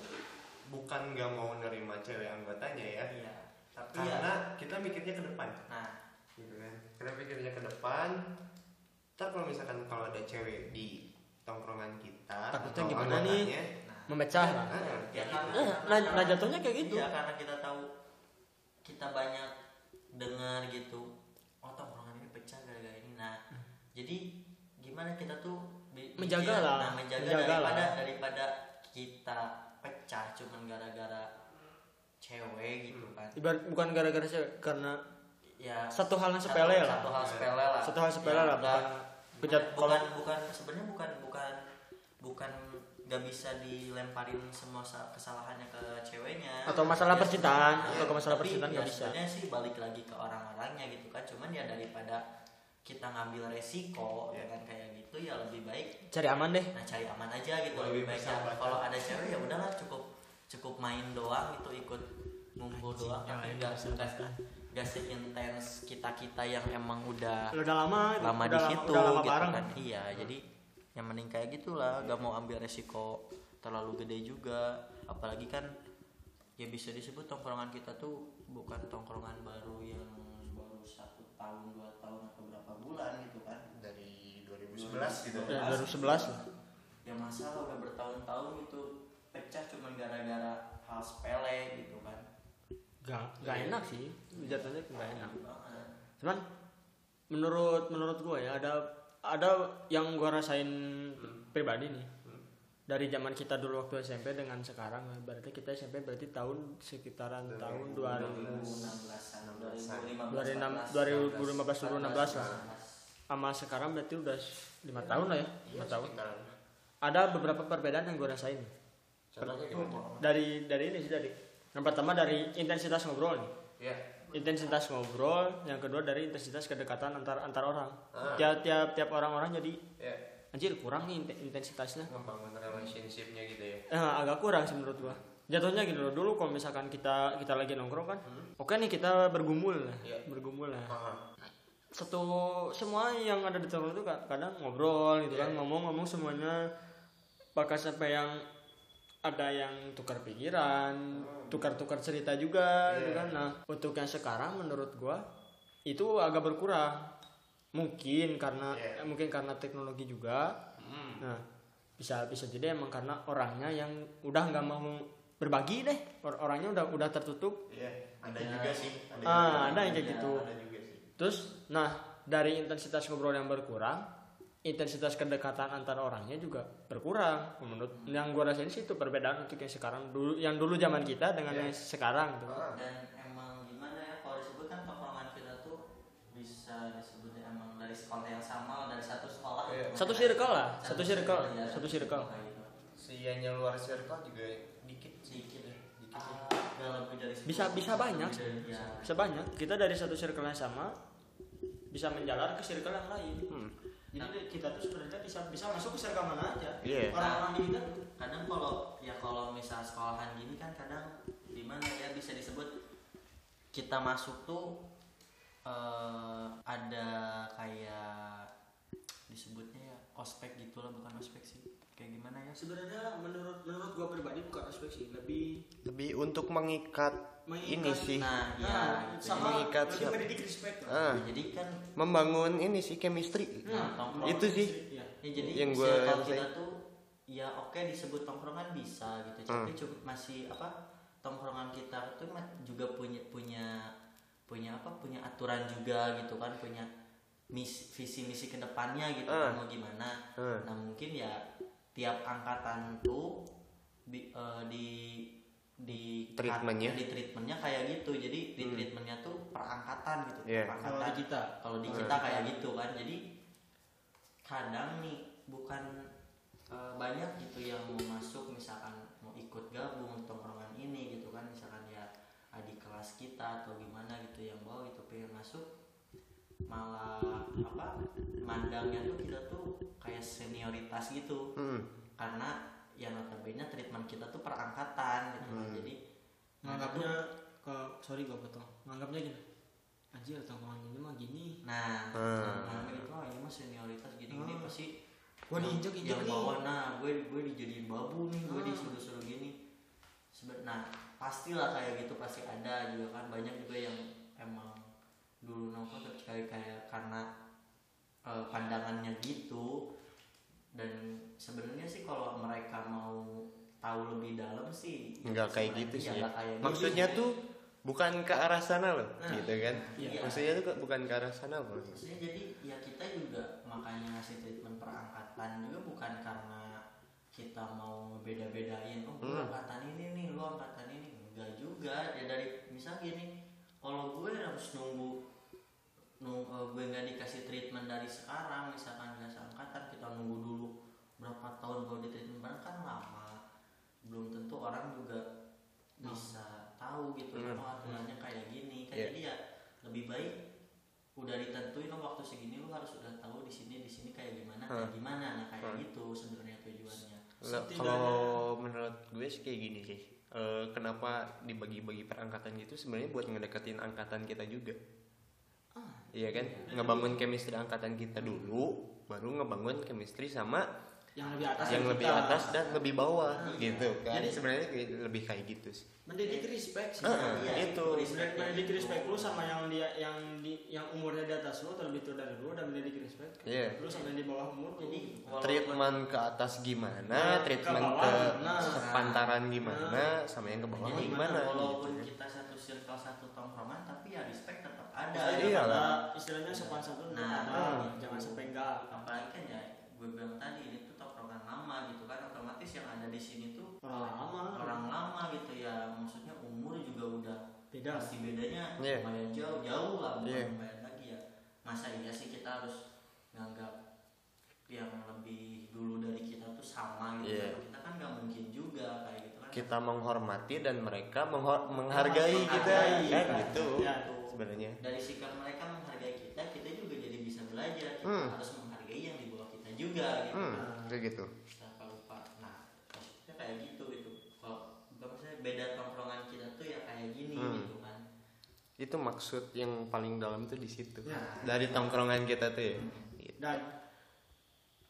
[SPEAKER 2] bukan nggak mau nerima cewek anggotanya ya
[SPEAKER 3] iya tapi ya
[SPEAKER 2] karena kita mikirnya ke depan
[SPEAKER 3] nah
[SPEAKER 2] gitu kan karena mikirnya ke depan ntar kalau misalkan kalau ada cewek di tongkrongan kita
[SPEAKER 1] Takutnya
[SPEAKER 2] atau
[SPEAKER 1] gimana nih?
[SPEAKER 2] anggotanya,
[SPEAKER 3] nah
[SPEAKER 1] memecah lah
[SPEAKER 2] ah,
[SPEAKER 3] ya
[SPEAKER 2] kayak
[SPEAKER 3] karena,
[SPEAKER 2] gitu.
[SPEAKER 1] Eh, nah, nah jatuhnya kayak gitu
[SPEAKER 3] Iya, karena kita tahu kita banyak dengar gitu oh tongkrongan ini pecah gara-gara ini nah jadi gimana kita tuh bi-
[SPEAKER 1] Menjaga
[SPEAKER 3] mikir,
[SPEAKER 1] lah,
[SPEAKER 3] nah, menjaga,
[SPEAKER 1] menjaga lah.
[SPEAKER 3] daripada daripada kita pecah cuman gara-gara cewek gitu kan
[SPEAKER 1] ibarat bukan gara-gara cewek karena
[SPEAKER 3] ya
[SPEAKER 1] Satu hal yang sepele lah.
[SPEAKER 3] satu hal sepele lah
[SPEAKER 1] satu hal sepele lah
[SPEAKER 3] bukan
[SPEAKER 1] bukan kejat
[SPEAKER 3] bukan, bukan sebenarnya bukan bukan bukan nggak bisa dilemparin semua sa- kesalahannya ke ceweknya
[SPEAKER 1] Atau masalah percintaan,
[SPEAKER 3] sebenarnya-
[SPEAKER 1] atau ke masalah
[SPEAKER 3] tapi
[SPEAKER 1] percintaan
[SPEAKER 3] ya
[SPEAKER 1] nggak bisa.
[SPEAKER 3] sebenarnya sih balik lagi ke orang-orangnya gitu kan cuman ya daripada kita ngambil resiko
[SPEAKER 2] Iya.
[SPEAKER 3] dengan kayak gitu ya lebih baik
[SPEAKER 1] cari aman deh
[SPEAKER 3] nah cari aman aja gitu
[SPEAKER 2] Lebih
[SPEAKER 3] lebih baik ya
[SPEAKER 2] persahabatan.
[SPEAKER 3] kalau ada cewek ya udahlah cukup cukup main doang gitu ikut ngumpul doang tapi nggak
[SPEAKER 1] gitu.
[SPEAKER 3] bukan nggak seintens kita kita yang emang udah
[SPEAKER 1] Lo udah lama
[SPEAKER 3] lama
[SPEAKER 1] udah
[SPEAKER 3] di situ
[SPEAKER 1] udah lama
[SPEAKER 3] gitu
[SPEAKER 1] bareng
[SPEAKER 3] kan iya jadi yang mending kayak gitulah nggak mau ambil resiko terlalu gede juga apalagi kan ya bisa disebut tongkrongan kita tuh bukan tongkrongan baru yang baru satu tahun dua tahun atau berapa bulan gitu kan
[SPEAKER 2] dari 2011 gitu
[SPEAKER 1] Dari 2011 lah.
[SPEAKER 3] ya masalah udah bertahun-tahun itu pecah cuma gara-gara hal sepele gitu kan
[SPEAKER 1] gak, gak enak sih jatuhnya gak enak
[SPEAKER 3] Gitu banget.
[SPEAKER 1] cuman menurut menurut gue ya ada ada yang gue rasain pribadi nih dari zaman kita dulu waktu SMP dengan sekarang berarti kita SMP berarti tahun sekitaran tahun 2000
[SPEAKER 3] 2016-an,
[SPEAKER 1] 2015-an, 2015-an. sama sekarang berarti udah lima tahun lah ya
[SPEAKER 2] Iya,
[SPEAKER 1] lima tahun
[SPEAKER 2] Sekitaran.
[SPEAKER 1] ada beberapa perbedaan yang gue rasain Iya.
[SPEAKER 2] contohnya gimana
[SPEAKER 1] dari dari ini sih dari yang pertama dari intensitas ngobrol nih
[SPEAKER 2] ya
[SPEAKER 1] intensitas ngobrol yang kedua dari intensitas kedekatan antar antar orang
[SPEAKER 2] Ah.
[SPEAKER 1] tiap tiap tiap orang-orang jadi
[SPEAKER 2] ya
[SPEAKER 1] anjir kurang nih inten- intensitasnya
[SPEAKER 2] ngebangun relationshipnya gitu ya
[SPEAKER 1] Eh, agak kurang sih menurut gua jatuhnya gitu loh dulu kalau misalkan kita kita lagi nongkrong kan oke nih kita bergumul lah
[SPEAKER 2] Iya.
[SPEAKER 1] bergumul lah
[SPEAKER 2] Aha.
[SPEAKER 1] satu semua yang ada di tongkrong itu ka- kadang ngobrol gitu
[SPEAKER 2] Iya.
[SPEAKER 1] kan ngomong-ngomong semuanya bahkan sampai yang ada yang tukar pikiran tukar-tukar cerita juga
[SPEAKER 2] Iya.
[SPEAKER 1] gitu kan nah untuk yang sekarang menurut gua itu agak berkurang mungkin karena eh,
[SPEAKER 2] Iya.
[SPEAKER 1] mungkin karena teknologi juga
[SPEAKER 2] Hmm.
[SPEAKER 1] nah bisa bisa jadi emang karena orangnya yang udah nggak mau berbagi deh Or- orangnya udah udah tertutup
[SPEAKER 2] Iya, ada juga sih. Ada
[SPEAKER 1] Ah,
[SPEAKER 2] juga.
[SPEAKER 1] ada yang kayak
[SPEAKER 2] Iya,
[SPEAKER 1] gitu.
[SPEAKER 2] Ada juga sih.
[SPEAKER 1] Terus, nah dari intensitas ngobrol yang berkurang, intensitas kedekatan antar orangnya juga berkurang. Menurut yang gue rasain sih itu perbedaan untuk yang sekarang dulu, yang dulu zaman kita dengan
[SPEAKER 2] Iya.
[SPEAKER 1] yang sekarang. Gitu.
[SPEAKER 2] Ah.
[SPEAKER 3] dan emang gimana ya kalau disebut kan tongkrongan kita tuh bisa disebut emang dari dari sekolah yang sama dari satu sekolah
[SPEAKER 2] Iya.
[SPEAKER 1] Satu circle lah, satu circle,
[SPEAKER 3] iya.
[SPEAKER 1] satu circle.
[SPEAKER 3] Nah, itu.
[SPEAKER 2] Sianya luar circle juga dikit
[SPEAKER 3] sedikit ya
[SPEAKER 2] Dikit ya.
[SPEAKER 3] Ah, nggak lebih dari sepuluh.
[SPEAKER 1] Bisa- bisa banyak.
[SPEAKER 3] Lebih dari- ya.
[SPEAKER 1] sebanyak kita dari satu circle yang sama bisa menjalar ke circle yang lain
[SPEAKER 2] Hmm.
[SPEAKER 1] jadi kita tuh sebenarnya bisa bisa masuk ke circle mana aja
[SPEAKER 2] Iya.
[SPEAKER 1] orang-orang di kita tuh.
[SPEAKER 3] kadang kalau ya kalau misal sekolahan gini kan kadang dimana ya bisa disebut kita masuk tuh eh, ada kayak disebutnya ya ospek gitulah bukan ospek sih kayak gimana ya
[SPEAKER 1] sebenarnya menurut menurut gua pribadi bukan aspek sih lebih
[SPEAKER 4] lebih untuk mengikat ini
[SPEAKER 1] Mengikat,
[SPEAKER 4] sih
[SPEAKER 3] nah ya
[SPEAKER 1] nah,
[SPEAKER 3] gitu.
[SPEAKER 1] sama
[SPEAKER 4] Mengikat
[SPEAKER 1] lebih
[SPEAKER 4] siap.
[SPEAKER 1] mendidik respect Hmm. lah.
[SPEAKER 4] ah,
[SPEAKER 3] jadi kan
[SPEAKER 4] membangun ini sih chemistry
[SPEAKER 3] nah, tongkrong
[SPEAKER 4] Itu sih.
[SPEAKER 1] Iya.
[SPEAKER 3] Ya, jadi
[SPEAKER 4] Yang Hmm. gua
[SPEAKER 3] circle kita
[SPEAKER 4] rasain.
[SPEAKER 3] tuh ya oke disebut tongkrongan bisa gitu tapi cukup masih apa tongkrongan kita tuh ma- juga punya punya punya apa punya aturan juga gitu kan punya mis- visi misi kedepannya gitu kan,
[SPEAKER 4] Hmm.
[SPEAKER 3] mau gimana
[SPEAKER 4] Hmm.
[SPEAKER 3] nah mungkin ya tiap angkatan tuh bi- eh, di di
[SPEAKER 4] Treatmentnya. Hmm.
[SPEAKER 3] di treatmentnya kayak gitu jadi di treatmentnya tuh perangkatan gitu
[SPEAKER 4] Iya.
[SPEAKER 1] Kalau di
[SPEAKER 3] perangkatan
[SPEAKER 1] kita
[SPEAKER 3] kalau di kita kayak gitu kan jadi kadang nih bukan eh, banyak gitu yang mau masuk misalkan mau ikut gabung tongkrongan ini gitu kan misalkan ya adik kelas kita atau gimana gitu yang mau gitu pengen masuk malah apa mandangnya tuh kita tuh kayak senioritas gitu
[SPEAKER 4] Hmm.
[SPEAKER 3] karena ya notabene treatment kita tuh perangkatan gitu kan. jadi
[SPEAKER 1] nganggapnya ke sorry gua potong nganggapnya gini anjir tongkrongan ini mah gini
[SPEAKER 3] Nah,
[SPEAKER 4] Hmm.
[SPEAKER 3] nah itu oh, ini mah senioritas gini-gini
[SPEAKER 1] Hmm.
[SPEAKER 3] pasti
[SPEAKER 1] Gua diinjek-injek
[SPEAKER 3] yang
[SPEAKER 1] nih.
[SPEAKER 3] bawa nah gue gue dijadiin babu nih gue
[SPEAKER 1] Hmm.
[SPEAKER 3] disuruh-suruh gini Seben- nah pastilah kayak gitu pasti ada juga kan banyak juga yang emang dulu nongkrong tapi kayak kayak karena eh, pandangannya gitu dan sebenarnya sih kalau mereka mau tahu lebih dalam sih ya
[SPEAKER 4] nggak kayak
[SPEAKER 3] sebenarnya
[SPEAKER 4] gitu sih
[SPEAKER 3] nggak kayak gitu.
[SPEAKER 4] maksudnya tuh bukan ke arah sana loh
[SPEAKER 3] Nah,
[SPEAKER 4] gitu kan
[SPEAKER 3] iya.
[SPEAKER 4] maksudnya tuh ke- bukan ke arah sana loh
[SPEAKER 3] Maksudnya jadi ya kita juga makanya ngasih treatment perangkatan juga bukan karena kita mau beda-bedain oh gue
[SPEAKER 4] Hmm.
[SPEAKER 3] angkatan ini nih lu angkatan ini enggak juga ya dari misal gini kalau gue harus nunggu nung- eh, gue nggak dikasih treatment dari sekarang misalkan nggak seangkatan kita nunggu dulu berapa tahun baru di treatment bareng kan lama belum tentu orang juga bisa tahu gitu
[SPEAKER 4] Hmm.
[SPEAKER 3] oh aturannya kayak gini kan
[SPEAKER 4] Iya.
[SPEAKER 3] jadi ya lebih baik udah ditentuin oh, waktu segini lu harus udah tahu di sini di sini kayak gimana kayak gimana nah kayak
[SPEAKER 4] Hmm.
[SPEAKER 3] gitu sebenarnya tujuannya
[SPEAKER 4] Le-
[SPEAKER 1] Setidaknya-
[SPEAKER 4] kalau menurut gue sih kayak gini sih Eh, kenapa dibagi-bagi perangkatan gitu sebenarnya buat ngedeketin angkatan kita juga
[SPEAKER 1] Ah,
[SPEAKER 4] iya kan
[SPEAKER 3] Nah.
[SPEAKER 4] ngebangun chemistry angkatan kita dulu baru ngebangun chemistry sama
[SPEAKER 1] yang lebih atas
[SPEAKER 4] yang
[SPEAKER 1] dari
[SPEAKER 4] lebih
[SPEAKER 1] kita.
[SPEAKER 4] atas dan lebih bawah
[SPEAKER 3] Iya.
[SPEAKER 4] gitu kan
[SPEAKER 1] Jadi-
[SPEAKER 4] sebenarnya kayak- lebih kayak gitu sih
[SPEAKER 1] mendidik respect sih
[SPEAKER 4] Heeh,
[SPEAKER 1] Iya.
[SPEAKER 4] itu.
[SPEAKER 1] Men- mendidik respect lu sama
[SPEAKER 3] sama
[SPEAKER 1] yang dia yang di yang umurnya di atas lu terlebih tua dari lu dan mendidik respect
[SPEAKER 4] Iya.
[SPEAKER 1] lu sama yang di bawah umur gitu. lu.
[SPEAKER 3] jadi walaupun-
[SPEAKER 4] treatment ke atas gimana
[SPEAKER 1] Nah, ke
[SPEAKER 4] treatment
[SPEAKER 1] bawah
[SPEAKER 4] ke
[SPEAKER 1] gimana? Nah.
[SPEAKER 4] sepantaran gimana sama yang ke bawah
[SPEAKER 3] Nah, jadi
[SPEAKER 4] gimana
[SPEAKER 3] walaupun
[SPEAKER 4] gitu.
[SPEAKER 3] kita satu circle satu tongkrongan tapi ya respect tetap ada
[SPEAKER 1] Jadi
[SPEAKER 4] Iya
[SPEAKER 1] ada
[SPEAKER 4] lah.
[SPEAKER 1] istilahnya sopan santun
[SPEAKER 3] Nah,
[SPEAKER 1] nah,
[SPEAKER 3] nah.
[SPEAKER 1] jangan sampai enggak
[SPEAKER 3] apalagi kan ya gue bilang tadi ini tuh tongkrongan lama gitu kan otomatis yang ada di sini tuh
[SPEAKER 1] Orang lama.
[SPEAKER 3] orang lama gitu ya maksudnya umur juga udah
[SPEAKER 1] Beda.
[SPEAKER 3] pasti bedanya
[SPEAKER 4] Iya.
[SPEAKER 3] lumayan jauh jauh lah bukan
[SPEAKER 4] Iya.
[SPEAKER 3] lumayan lagi ya masa iya sih kita harus nganggap yang lebih dulu dari kita tuh sama gitu
[SPEAKER 4] Iya.
[SPEAKER 3] kan. kita kan nggak mungkin juga kayak gitu kan
[SPEAKER 4] kita menghormati dan mereka menghor- menghargai kita
[SPEAKER 1] Menghargai,
[SPEAKER 4] kan
[SPEAKER 1] kan.
[SPEAKER 4] gitu
[SPEAKER 1] Iya.
[SPEAKER 3] Tuh.
[SPEAKER 4] sebenarnya
[SPEAKER 3] dari sikap mereka menghargai kita kita juga jadi bisa belajar kita
[SPEAKER 4] Hmm.
[SPEAKER 3] harus menghargai yang di bawah kita juga gitu
[SPEAKER 4] hmm,
[SPEAKER 3] kan.
[SPEAKER 1] Nah,
[SPEAKER 4] kayak gitu
[SPEAKER 3] Kenapa lupa? Nah, maksudnya kayak gitu gitu. Kalau bukan maksudnya beda tongkrongan kita tuh ya kayak gini
[SPEAKER 4] Hmm.
[SPEAKER 3] gitu kan.
[SPEAKER 4] itu maksud yang paling dalam tuh di situ
[SPEAKER 1] Ya.
[SPEAKER 4] dari tongkrongan kita tuh ya Gitu.
[SPEAKER 1] dan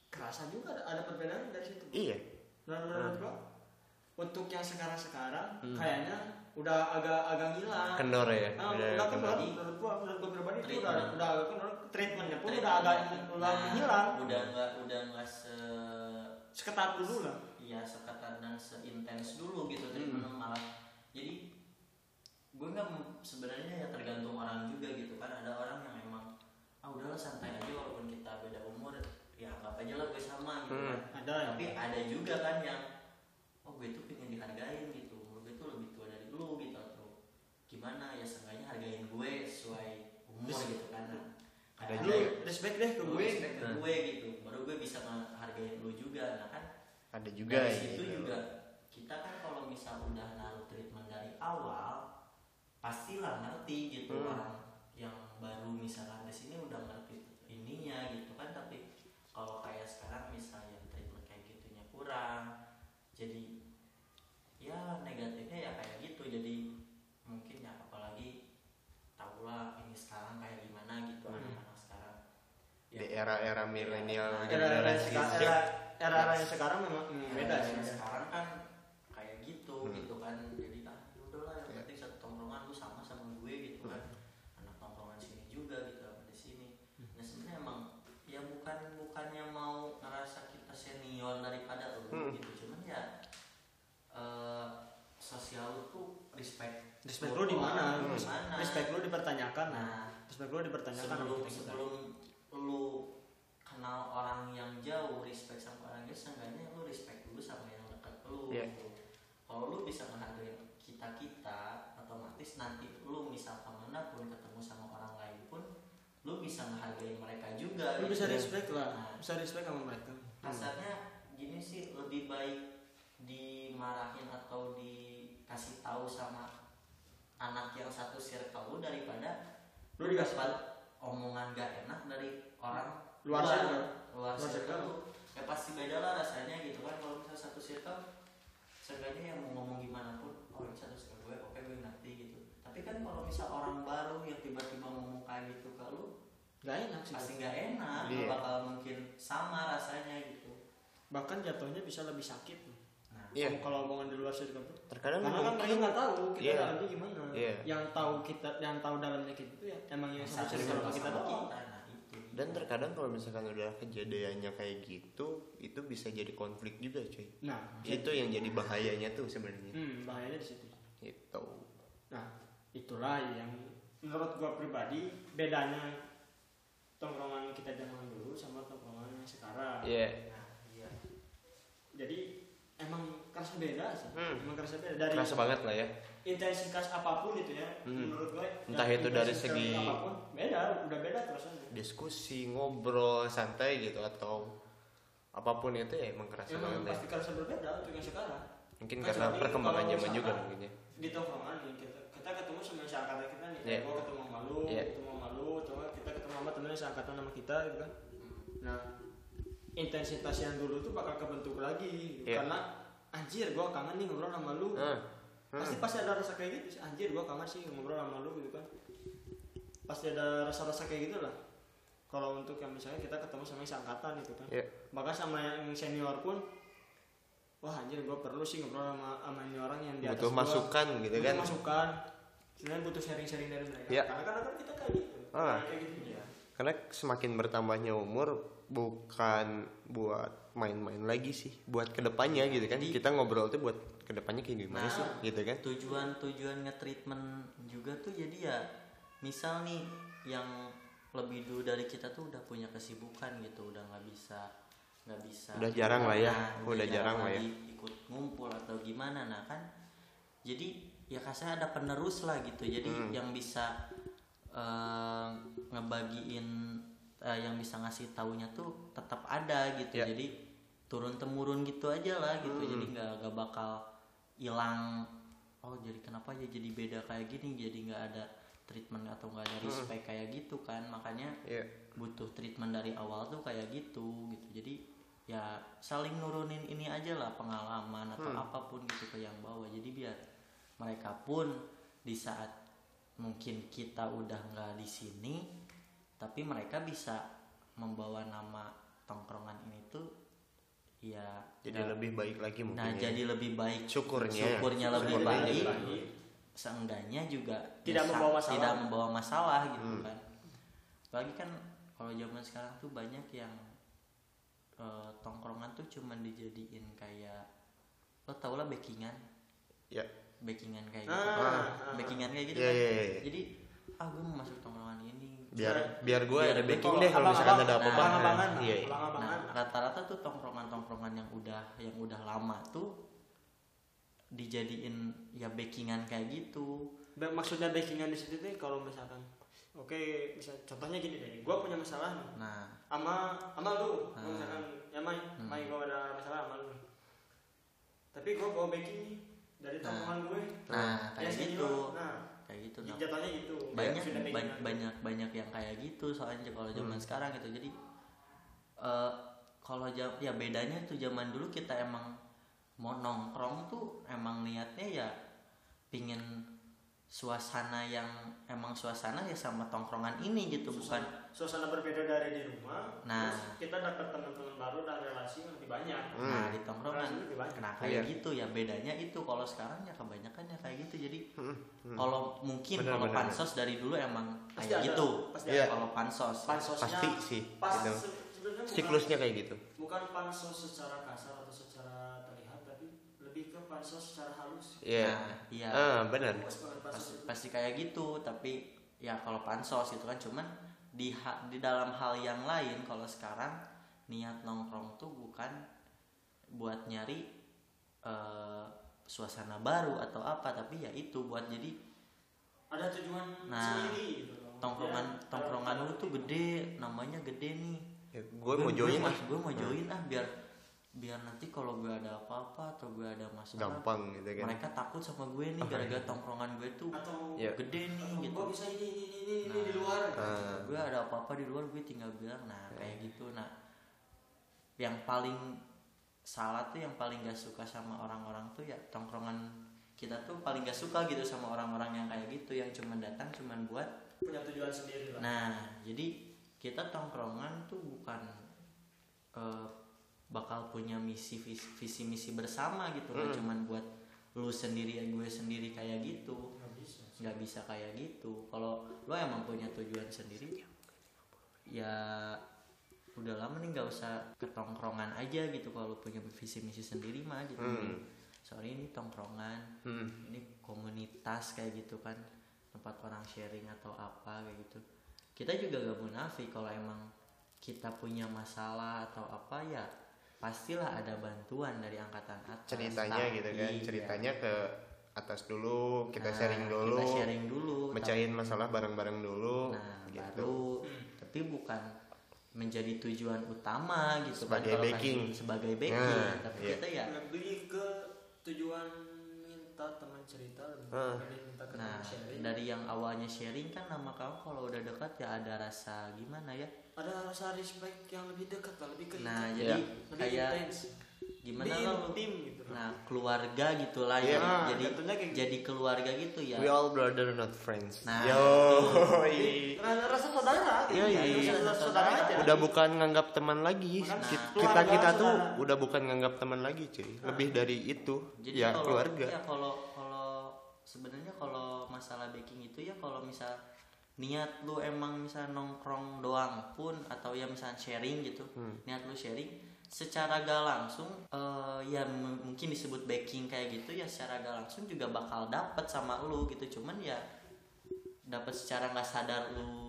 [SPEAKER 1] kerasa juga ada- ada perbedaan dari situ
[SPEAKER 4] iya
[SPEAKER 1] Nah, menurut gua untuk yang sekarang-sekarang
[SPEAKER 4] Hmm.
[SPEAKER 1] kayaknya udah agak-agak ngilang.
[SPEAKER 4] kendor ya
[SPEAKER 1] Nah,
[SPEAKER 4] udah
[SPEAKER 2] Iya,
[SPEAKER 1] udah
[SPEAKER 4] kendor.
[SPEAKER 1] kendor. Menurut gua, menurut gua pribadi itu udah
[SPEAKER 3] Treatment.
[SPEAKER 1] udah agak kendor.
[SPEAKER 4] Iya,
[SPEAKER 1] Treatmentnya pun udah agak udah
[SPEAKER 3] Nah,
[SPEAKER 1] hilang.
[SPEAKER 3] Udah nggak udah nggak se
[SPEAKER 1] Seketat dulu lah.
[SPEAKER 3] ya seketat dan seintens dulu
[SPEAKER 4] Hmm.
[SPEAKER 3] gitu treatment malah. Jadi gue nggak mau- sebenarnya ya tergantung orang juga gitu kan ada orang yang emang ah udahlah santai aja walaupun kita beda umur ya anggap aja lah gue sama gitu
[SPEAKER 4] Hmm.
[SPEAKER 3] kan.
[SPEAKER 1] Ada ya.
[SPEAKER 3] tapi ada juga kan yang oh gue tuh pengen dihargain gitu umur gue tuh lebih tua dari lu gitu atau gimana ya seenggaknya hargain gue sesuai umur gitu kan Nah,
[SPEAKER 4] Ada
[SPEAKER 1] Lu
[SPEAKER 3] kayak
[SPEAKER 4] juga.
[SPEAKER 1] respect deh ke
[SPEAKER 4] Hmm.
[SPEAKER 3] gitu, target lu juga nah kan
[SPEAKER 4] ada juga
[SPEAKER 3] dari
[SPEAKER 4] ya,
[SPEAKER 3] situ
[SPEAKER 4] gitu.
[SPEAKER 3] juga kita kan kalau misal udah naruh treatment dari awal pastilah ngerti gitu
[SPEAKER 4] Hmm.
[SPEAKER 3] orang yang baru misalnya di sini udah ngerti ininya gitu kan tapi kalau kayak sekarang misalnya treatment kayak gitunya kurang jadi ya negatifnya ya kayak gitu jadi mungkin ya apalagi tahulah ini sekarang kayak gimana gitu
[SPEAKER 4] Hmm.
[SPEAKER 3] anak-anak sekarang Ya,
[SPEAKER 4] di era-era milenial
[SPEAKER 3] Era-
[SPEAKER 1] era
[SPEAKER 4] generasi Z
[SPEAKER 1] era yang sekarang memang
[SPEAKER 3] Nah,
[SPEAKER 1] hmm, beda sih
[SPEAKER 3] yang sekarang kan kayak gitu
[SPEAKER 4] Hmm.
[SPEAKER 3] gitu kan jadi ah ya udahlah yang
[SPEAKER 4] Iya.
[SPEAKER 3] penting satu tongkrongan lu sama sama gue gitu kan
[SPEAKER 1] Hmm.
[SPEAKER 3] anak tongkrongan sini juga gitu sama di sini nah sebenarnya emang ya bukan bukannya mau ngerasa kita senior daripada lu
[SPEAKER 4] Hmm.
[SPEAKER 3] gitu cuman ya eh sosial lu tuh respect
[SPEAKER 1] Respect lu di mana?
[SPEAKER 3] Di
[SPEAKER 4] Hmm.
[SPEAKER 3] mana?
[SPEAKER 1] respect lu dipertanyakan
[SPEAKER 3] nah
[SPEAKER 1] respect lu dipertanyakan
[SPEAKER 3] sebelum
[SPEAKER 1] gitu.
[SPEAKER 3] sebelum lu kenal orang yang jauh respect sama orang jauh seenggaknya lu respect dulu sama yang dekat lu
[SPEAKER 4] Iya.
[SPEAKER 3] gitu. kalau lu bisa menghargai kita kita otomatis nanti lu misal kemana pun ketemu sama orang lain pun lu bisa menghargai mereka juga
[SPEAKER 1] lu
[SPEAKER 3] gitu.
[SPEAKER 1] bisa respect
[SPEAKER 3] Nah.
[SPEAKER 1] lah bisa respect sama mereka
[SPEAKER 3] kasarnya gini sih lebih baik dimarahin atau dikasih tahu sama anak yang satu circle lu daripada
[SPEAKER 1] Lu dikasih
[SPEAKER 3] dapat omongan gak enak dari orang
[SPEAKER 1] luar
[SPEAKER 3] luar,
[SPEAKER 1] sana
[SPEAKER 3] luar
[SPEAKER 1] Luar
[SPEAKER 3] circle
[SPEAKER 1] circle.
[SPEAKER 3] lu. ya pasti beda lah rasanya gitu kan kalau misalnya satu circle seenggaknya yang mau ngomong gimana pun oh ini satu circle gue oke gue ngerti gitu tapi kan kalau misal orang baru yang tiba-tiba ngomong kayak gitu ke lu
[SPEAKER 1] nggak enak sih
[SPEAKER 3] pasti nggak enak
[SPEAKER 4] Iya.
[SPEAKER 3] bakal mungkin sama rasanya gitu
[SPEAKER 1] bahkan jatuhnya bisa lebih sakit
[SPEAKER 3] nah
[SPEAKER 4] iya
[SPEAKER 1] kalau omongan di luar circle tuh
[SPEAKER 4] terkadang
[SPEAKER 1] karena kan mereka
[SPEAKER 4] mungkin
[SPEAKER 1] nggak tahu kita
[SPEAKER 4] Iya.
[SPEAKER 1] dalamnya gimana
[SPEAKER 4] Iya.
[SPEAKER 1] yang tahu kita yang tahu dalamnya kita itu ya emang yang satu
[SPEAKER 3] satu
[SPEAKER 1] circle
[SPEAKER 3] sama
[SPEAKER 1] kita
[SPEAKER 3] kita
[SPEAKER 1] doang
[SPEAKER 3] nah itu
[SPEAKER 4] dan terkadang kalau misalkan udah kejadiannya kayak gitu itu bisa jadi konflik juga cuy
[SPEAKER 1] nah
[SPEAKER 4] itu yang jadi bahayanya tuh sebenarnya
[SPEAKER 1] hmm, bahayanya di situ
[SPEAKER 4] gitu
[SPEAKER 1] Nah, itulah yang menurut gua pribadi bedanya tongkrongan kita zaman dulu sama tongkrongan yang sekarang.
[SPEAKER 4] ya
[SPEAKER 3] nah iya
[SPEAKER 1] Jadi emang kerasa beda sih.
[SPEAKER 4] Hmm.
[SPEAKER 1] Emang kerasa beda dari
[SPEAKER 4] keras banget lah ya
[SPEAKER 1] intensitas apapun itu ya.
[SPEAKER 4] Hmm.
[SPEAKER 1] Menurut gue
[SPEAKER 4] Entah itu dari segi-
[SPEAKER 1] apapun beda, udah beda rasanya.
[SPEAKER 4] diskusi ngobrol santai gitu atau apapun itu ya emang kerasa
[SPEAKER 1] Emang
[SPEAKER 4] banget ya
[SPEAKER 1] Iya, pasti kerasa berbeda untuk yang sekarang.
[SPEAKER 4] mungkin
[SPEAKER 1] Kecuali
[SPEAKER 4] karena perkembangan
[SPEAKER 1] kalau
[SPEAKER 4] zaman juga
[SPEAKER 1] misalkan-
[SPEAKER 4] mungkin ya
[SPEAKER 1] Di tongkrongan nih, kita, kita ketemu sama yang seangkatan kita nih.
[SPEAKER 4] Iya.
[SPEAKER 1] Kayak gua ketemu sama lu,
[SPEAKER 4] Iya.
[SPEAKER 1] ketemu sama lu, atau nggak kita ketemu sama temennya seangkatan sama kita gitu kan.
[SPEAKER 4] Hmm.
[SPEAKER 1] Nah, intensitas yang dulu tuh bakal kebentuk lagi
[SPEAKER 4] Iya.
[SPEAKER 1] karena anjir gua kangen nih ngobrol sama lu.
[SPEAKER 4] Nah,
[SPEAKER 1] Pasti pasti ada rasa kayak gitu sih, anjir gua kangen sih ngobrol sama lu gitu kan. Pasti ada rasa-rasa kayak gitu lah. Kalau untuk yang misalnya kita ketemu sama yang seangkatan gitu kan.
[SPEAKER 4] Iya.
[SPEAKER 1] Bahkan sama yang senior pun wah anjir gua perlu sih ngobrol sama sama ini orang yang di atas
[SPEAKER 4] butuh
[SPEAKER 1] gua.
[SPEAKER 4] masukan gitu
[SPEAKER 1] Butuh
[SPEAKER 4] kan
[SPEAKER 1] Masukan. Sebenarnya butuh sharing-sharing dari mereka.
[SPEAKER 4] Iya.
[SPEAKER 1] Karena kadang kan kita kayak gitu.
[SPEAKER 4] Ah.
[SPEAKER 1] Kayak gitu ya.
[SPEAKER 4] karena semakin bertambahnya umur bukan buat main-main lagi sih buat kedepannya gitu kan kita ngobrol tuh buat kedepannya kayak gimana
[SPEAKER 3] Nah.
[SPEAKER 4] sih gitu kan
[SPEAKER 3] tujuan tujuan nge-treatment juga tuh jadi ya misal nih yang lebih dulu dari kita tuh udah punya kesibukan gitu udah nggak bisa nggak bisa
[SPEAKER 4] Udah jarang lah ya,
[SPEAKER 3] Nah,
[SPEAKER 4] udah jarang lah ya.
[SPEAKER 3] lagi ikut ngumpul atau gimana nah kan jadi ya kasih ada penerus lah gitu jadi
[SPEAKER 4] Hmm.
[SPEAKER 3] yang bisa eh, ngebagiin eh, yang bisa ngasih taunya tuh tetap ada gitu
[SPEAKER 4] Ya.
[SPEAKER 3] jadi turun temurun gitu aja lah gitu jadi nggak nggak bakal hilang oh jadi kenapa ya jadi beda kayak gini jadi nggak ada treatment atau nggak ada respect kayak gitu kan makanya
[SPEAKER 4] ya
[SPEAKER 3] butuh treatment dari awal tuh kayak gitu gitu jadi ya saling nurunin ini aja lah pengalaman atau
[SPEAKER 4] Hmm.
[SPEAKER 3] apapun gitu ke yang bawah jadi biar mereka pun di saat mungkin kita udah nggak di sini tapi mereka bisa membawa nama tongkrongan ini tuh ya
[SPEAKER 4] jadi
[SPEAKER 3] nggak-
[SPEAKER 4] lebih baik lagi mungkin
[SPEAKER 3] nah
[SPEAKER 4] ya.
[SPEAKER 3] jadi lebih baik
[SPEAKER 4] Syukurnya.
[SPEAKER 3] syukurnya lebih
[SPEAKER 4] Syukurnya
[SPEAKER 3] baik
[SPEAKER 4] lebih
[SPEAKER 1] baik.
[SPEAKER 3] seenggaknya juga
[SPEAKER 1] Tidak
[SPEAKER 3] bisa-
[SPEAKER 1] membawa masalah.
[SPEAKER 3] tidak membawa masalah gitu kan apalagi kan kalau zaman sekarang tuh banyak yang eh, tongkrongan tuh cuman dijadiin kayak lo tau lah backingan
[SPEAKER 4] ya
[SPEAKER 3] backingan kayak gitu
[SPEAKER 1] Ah,
[SPEAKER 3] backingan kayak gitu
[SPEAKER 4] Iya,
[SPEAKER 3] kan
[SPEAKER 4] iya, iya.
[SPEAKER 3] jadi ah gue mau masuk tongkrongan ini
[SPEAKER 4] biar
[SPEAKER 1] Nah,
[SPEAKER 4] biar gue
[SPEAKER 3] biar
[SPEAKER 4] ada
[SPEAKER 3] ada
[SPEAKER 4] backing
[SPEAKER 1] kalau
[SPEAKER 4] deh kalau misalkan ada
[SPEAKER 1] abang-abang-
[SPEAKER 4] apa-apa
[SPEAKER 1] abang-abangan lah,
[SPEAKER 4] iya iya.
[SPEAKER 1] abang-abangan.
[SPEAKER 3] Nah, rata-rata tuh tongkrongan-tongkrongan yang udah yang udah lama tuh dijadiin ya backingan kayak gitu.
[SPEAKER 1] Ba- maksudnya backingan di situ tuh kalau misalkan Oke, bisa contohnya gini deh. Gua punya masalah nih.
[SPEAKER 3] nah
[SPEAKER 1] Ama ama lu, gua
[SPEAKER 3] Ah.
[SPEAKER 1] misalkan ya Mai,
[SPEAKER 3] Hmm.
[SPEAKER 1] Mai gua ada masalah sama lu. Tapi gua bawa backing nih dari
[SPEAKER 3] Nah.
[SPEAKER 1] tongkrongan gue.
[SPEAKER 3] nah
[SPEAKER 1] Ya,
[SPEAKER 3] kayak
[SPEAKER 1] sini
[SPEAKER 3] gitu
[SPEAKER 1] lu. Nah,
[SPEAKER 3] kayak gitu nah
[SPEAKER 1] jatuhnya gitu.
[SPEAKER 3] banyak
[SPEAKER 1] Sudah
[SPEAKER 3] ba-
[SPEAKER 1] backingan.
[SPEAKER 3] banyak banyak yang kayak gitu soalnya kalau
[SPEAKER 2] Hmm.
[SPEAKER 3] zaman sekarang gitu jadi eh, kalau ja- ya bedanya tuh zaman dulu kita emang mau nongkrong tuh emang niatnya ya pingin suasana yang emang suasana ya sama tongkrongan ini gitu bukan
[SPEAKER 1] Suasana- suasana berbeda dari di rumah.
[SPEAKER 3] Nah.
[SPEAKER 1] terus kita dapat teman-teman baru dan relasi yang lebih banyak.
[SPEAKER 3] nah
[SPEAKER 2] Hmm.
[SPEAKER 3] di tongkrongan
[SPEAKER 1] Relasi lebih banyak.
[SPEAKER 3] nah kayak
[SPEAKER 2] Iya.
[SPEAKER 3] gitu ya bedanya itu kalau sekarang ya kebanyakan ya kayak gitu jadi
[SPEAKER 2] Hmm, hmm.
[SPEAKER 3] kalau mungkin
[SPEAKER 2] Benar,
[SPEAKER 3] kalau
[SPEAKER 2] benar.
[SPEAKER 3] pansos dari dulu emang
[SPEAKER 1] Pasti
[SPEAKER 3] kayak
[SPEAKER 1] ada,
[SPEAKER 3] gitu
[SPEAKER 1] pasti
[SPEAKER 2] Iya.
[SPEAKER 1] ada.
[SPEAKER 3] kalau pansos
[SPEAKER 1] Pansosnya
[SPEAKER 2] Pasti sih,
[SPEAKER 1] Pas,
[SPEAKER 2] gitu.
[SPEAKER 1] se- sebenarnya bukan-
[SPEAKER 2] siklusnya kayak gitu
[SPEAKER 1] bukan pansos secara kasar atau secara terlihat tapi lebih ke pansos secara halus
[SPEAKER 2] Iya.
[SPEAKER 3] Nah, iya
[SPEAKER 2] ah benar
[SPEAKER 1] Puas banget
[SPEAKER 3] pasti,
[SPEAKER 1] pansos itu.
[SPEAKER 3] pasti kayak gitu tapi ya kalau pansos gitu kan cuman di ha- di dalam hal yang lain kalau sekarang niat nongkrong tuh bukan buat nyari eh, suasana baru atau apa tapi ya itu buat jadi
[SPEAKER 1] ada tujuan
[SPEAKER 3] Nah,
[SPEAKER 1] sendiri gitu loh.
[SPEAKER 3] tongkrongan
[SPEAKER 1] Ya,
[SPEAKER 3] tongkrongan
[SPEAKER 1] kalau-
[SPEAKER 3] lu tuh gede namanya gede nih
[SPEAKER 2] Ya, gue mau join
[SPEAKER 4] Hmm.
[SPEAKER 3] gue,
[SPEAKER 2] ah
[SPEAKER 3] gue mau join ah biar biar nanti kalau gue ada apa-apa atau gue ada masalah
[SPEAKER 2] gampang gitu kan
[SPEAKER 3] mereka takut sama gue nih
[SPEAKER 2] Oh,
[SPEAKER 3] gara-gara tongkrongan gue tuh
[SPEAKER 1] atau
[SPEAKER 2] Iya.
[SPEAKER 3] gede nih
[SPEAKER 1] atau
[SPEAKER 3] gitu
[SPEAKER 1] gua bisa ini ini ini, ini, ini di
[SPEAKER 3] Nah.
[SPEAKER 1] luar
[SPEAKER 2] Ah,
[SPEAKER 3] gue ada apa-apa di luar gue tinggal bilang nah kayak gitu nah yang paling salah tuh yang paling gak suka sama orang-orang tuh ya tongkrongan kita tuh paling gak suka gitu sama orang-orang yang kayak gitu yang cuman datang cuman buat
[SPEAKER 1] punya tujuan sendiri lah
[SPEAKER 3] nah jadi kita tongkrongan tuh bukan eh, bakal punya misi visi, visi misi bersama gitu kan
[SPEAKER 2] Hmm.
[SPEAKER 3] cuman buat lu sendiri gue sendiri kayak gitu
[SPEAKER 1] nggak bisa sih.
[SPEAKER 3] nggak bisa kayak gitu kalau lo emang punya tujuan sendiri ya udah lama nih nggak usah ketongkrongan aja gitu kalau lo punya visi misi sendiri mah gitu
[SPEAKER 2] Hmm.
[SPEAKER 3] soalnya ini tongkrongan
[SPEAKER 2] hmm.
[SPEAKER 3] ini komunitas kayak gitu kan tempat orang sharing atau apa kayak gitu kita juga gak munafik kalau emang kita punya masalah atau apa ya pastilah ada bantuan dari angkatan atas
[SPEAKER 2] ceritanya gitu kan
[SPEAKER 3] Iya.
[SPEAKER 2] ceritanya ke atas dulu kita
[SPEAKER 3] Nah,
[SPEAKER 2] sharing dulu
[SPEAKER 3] kita sharing dulu
[SPEAKER 2] mecahin masalah bareng-bareng dulu
[SPEAKER 3] Nah,
[SPEAKER 2] gitu.
[SPEAKER 3] baru tapi bukan menjadi tujuan utama gitu kan,
[SPEAKER 2] Sebagai
[SPEAKER 3] kalau kan
[SPEAKER 2] backing.
[SPEAKER 3] sebagai backing
[SPEAKER 2] Nah,
[SPEAKER 3] tapi
[SPEAKER 2] iya.
[SPEAKER 3] kita ya
[SPEAKER 1] lebih ke tujuan minta teman cerita lebih
[SPEAKER 2] Ah.
[SPEAKER 1] dari minta ke teman
[SPEAKER 3] nah
[SPEAKER 1] ya. sharing
[SPEAKER 3] dari yang awalnya sharing kan nama kamu kalau udah dekat ya ada rasa gimana ya
[SPEAKER 1] ada rasa respect yang lebih dekat lah lebih ke
[SPEAKER 3] nah
[SPEAKER 2] Iya.
[SPEAKER 3] jadi
[SPEAKER 1] lebih
[SPEAKER 3] kayak
[SPEAKER 1] intens
[SPEAKER 3] gimana
[SPEAKER 1] Lebih
[SPEAKER 3] kalau
[SPEAKER 1] intim gitu loh.
[SPEAKER 3] nah keluarga gitulah
[SPEAKER 2] Iya.
[SPEAKER 3] ya
[SPEAKER 1] Nah,
[SPEAKER 3] jadi
[SPEAKER 1] jatuhnya kayak gitu.
[SPEAKER 3] jadi keluarga gitu ya
[SPEAKER 2] we all brother not friends
[SPEAKER 3] Nah,
[SPEAKER 2] yo
[SPEAKER 1] Rasa, gitu. Nah, rasa saudara gitu.
[SPEAKER 2] Iya, iya,
[SPEAKER 1] Rasa-
[SPEAKER 2] iya.
[SPEAKER 1] rasa saudara aja.
[SPEAKER 2] udah bukan nganggap teman lagi
[SPEAKER 1] Bukan. Nah.
[SPEAKER 2] Ki- kita kita
[SPEAKER 1] Keluarga,
[SPEAKER 2] tuh
[SPEAKER 1] saudara.
[SPEAKER 2] udah bukan nganggap teman lagi cuy lebih dari itu
[SPEAKER 3] Nah. jadi
[SPEAKER 2] ya
[SPEAKER 3] kalau,
[SPEAKER 2] keluarga
[SPEAKER 3] ya kalau kalau sebenarnya kalau masalah baking itu ya kalau misal niat lu emang misal nongkrong doang pun atau ya misal sharing gitu
[SPEAKER 2] Hmm.
[SPEAKER 3] niat lu sharing secara gak langsung eh, ya m- mungkin disebut baking kayak gitu ya secara gak langsung juga bakal dapet sama lu gitu cuman ya dapat secara nggak sadar lu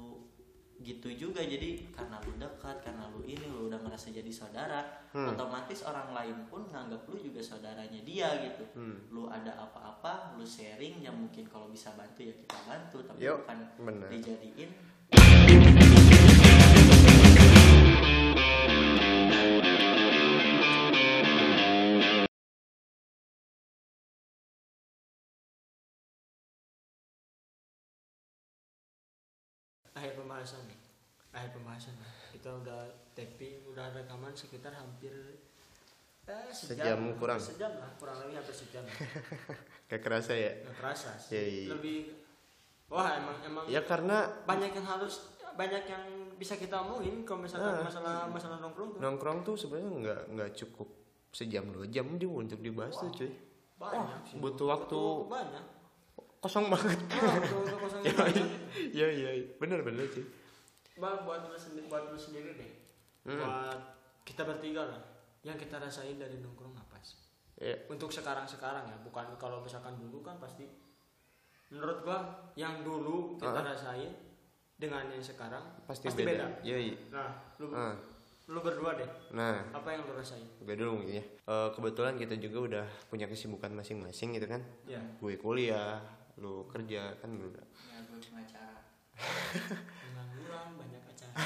[SPEAKER 3] gitu juga jadi karena lu dekat karena lu ini lu udah ngerasa jadi saudara
[SPEAKER 2] Hmm.
[SPEAKER 3] otomatis orang lain pun nganggap lu juga saudaranya dia gitu
[SPEAKER 2] Hmm.
[SPEAKER 3] lu ada apa-apa lu sharing yang mungkin kalau bisa bantu ya kita bantu tapi
[SPEAKER 2] Yuk,
[SPEAKER 3] bukan
[SPEAKER 2] bener.
[SPEAKER 3] dijadiin
[SPEAKER 1] akhir pembahasan nih. akhir pembahasan kita udah tapping udah rekaman sekitar hampir eh,
[SPEAKER 2] Sejam kurang.
[SPEAKER 1] sejam lah kurang lebih hampir sejam
[SPEAKER 2] kayak kerasa ya
[SPEAKER 1] nggak kerasa sih
[SPEAKER 2] Iya, iya.
[SPEAKER 1] lebih wah emang emang
[SPEAKER 2] ya karena
[SPEAKER 1] banyak yang harus banyak yang bisa kita omongin kalau misalkan
[SPEAKER 2] Ah.
[SPEAKER 1] masalah masalah nongkrong tuh
[SPEAKER 2] nongkrong tuh sebenarnya nggak nggak cukup sejam dua jam dia untuk dibahas tuh cuy
[SPEAKER 1] banyak sih
[SPEAKER 2] butuh waktu
[SPEAKER 1] Butuh banyak
[SPEAKER 2] kosong banget
[SPEAKER 1] Ah, butuh waktu kosong yang banyak.
[SPEAKER 2] ya ya bener bener cuy
[SPEAKER 1] Bang buat lu sendiri, buat lu sendiri deh.
[SPEAKER 2] Hmm.
[SPEAKER 1] Buat kita bertiga lah. Yang kita rasain dari nongkrong apa sih?
[SPEAKER 2] ya
[SPEAKER 1] Untuk sekarang-sekarang ya, bukan kalau misalkan dulu kan pasti menurut gua yang dulu kita
[SPEAKER 2] Ah.
[SPEAKER 1] rasain dengan yang sekarang
[SPEAKER 2] pasti, beda, ya iya
[SPEAKER 1] Nah, lu
[SPEAKER 2] Ah.
[SPEAKER 1] lu berdua deh.
[SPEAKER 2] nah
[SPEAKER 1] Apa yang lu rasain?
[SPEAKER 2] gue dulu mungkin ya Eh, kebetulan kita juga udah punya kesibukan masing-masing gitu kan
[SPEAKER 1] Ya.
[SPEAKER 2] gue kuliah lu kerja kan udah
[SPEAKER 3] ya gue pengacara pengangguran banyak acara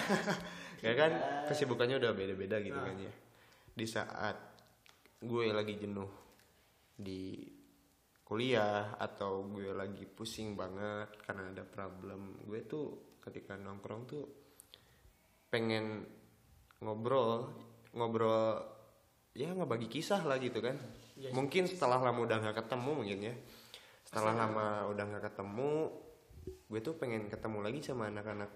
[SPEAKER 2] ya kan kesibukannya udah beda-beda gitu
[SPEAKER 1] Nah.
[SPEAKER 2] kan ya di saat gue lagi jenuh di kuliah atau gue lagi pusing banget karena ada problem gue tuh ketika nongkrong tuh pengen ngobrol ngobrol ya ngebagi kisah lah gitu kan
[SPEAKER 1] Iya.
[SPEAKER 2] mungkin setelah lama udah nggak ketemu mungkin ya setelah lama udah nggak ketemu gue tuh pengen ketemu lagi sama anak-anak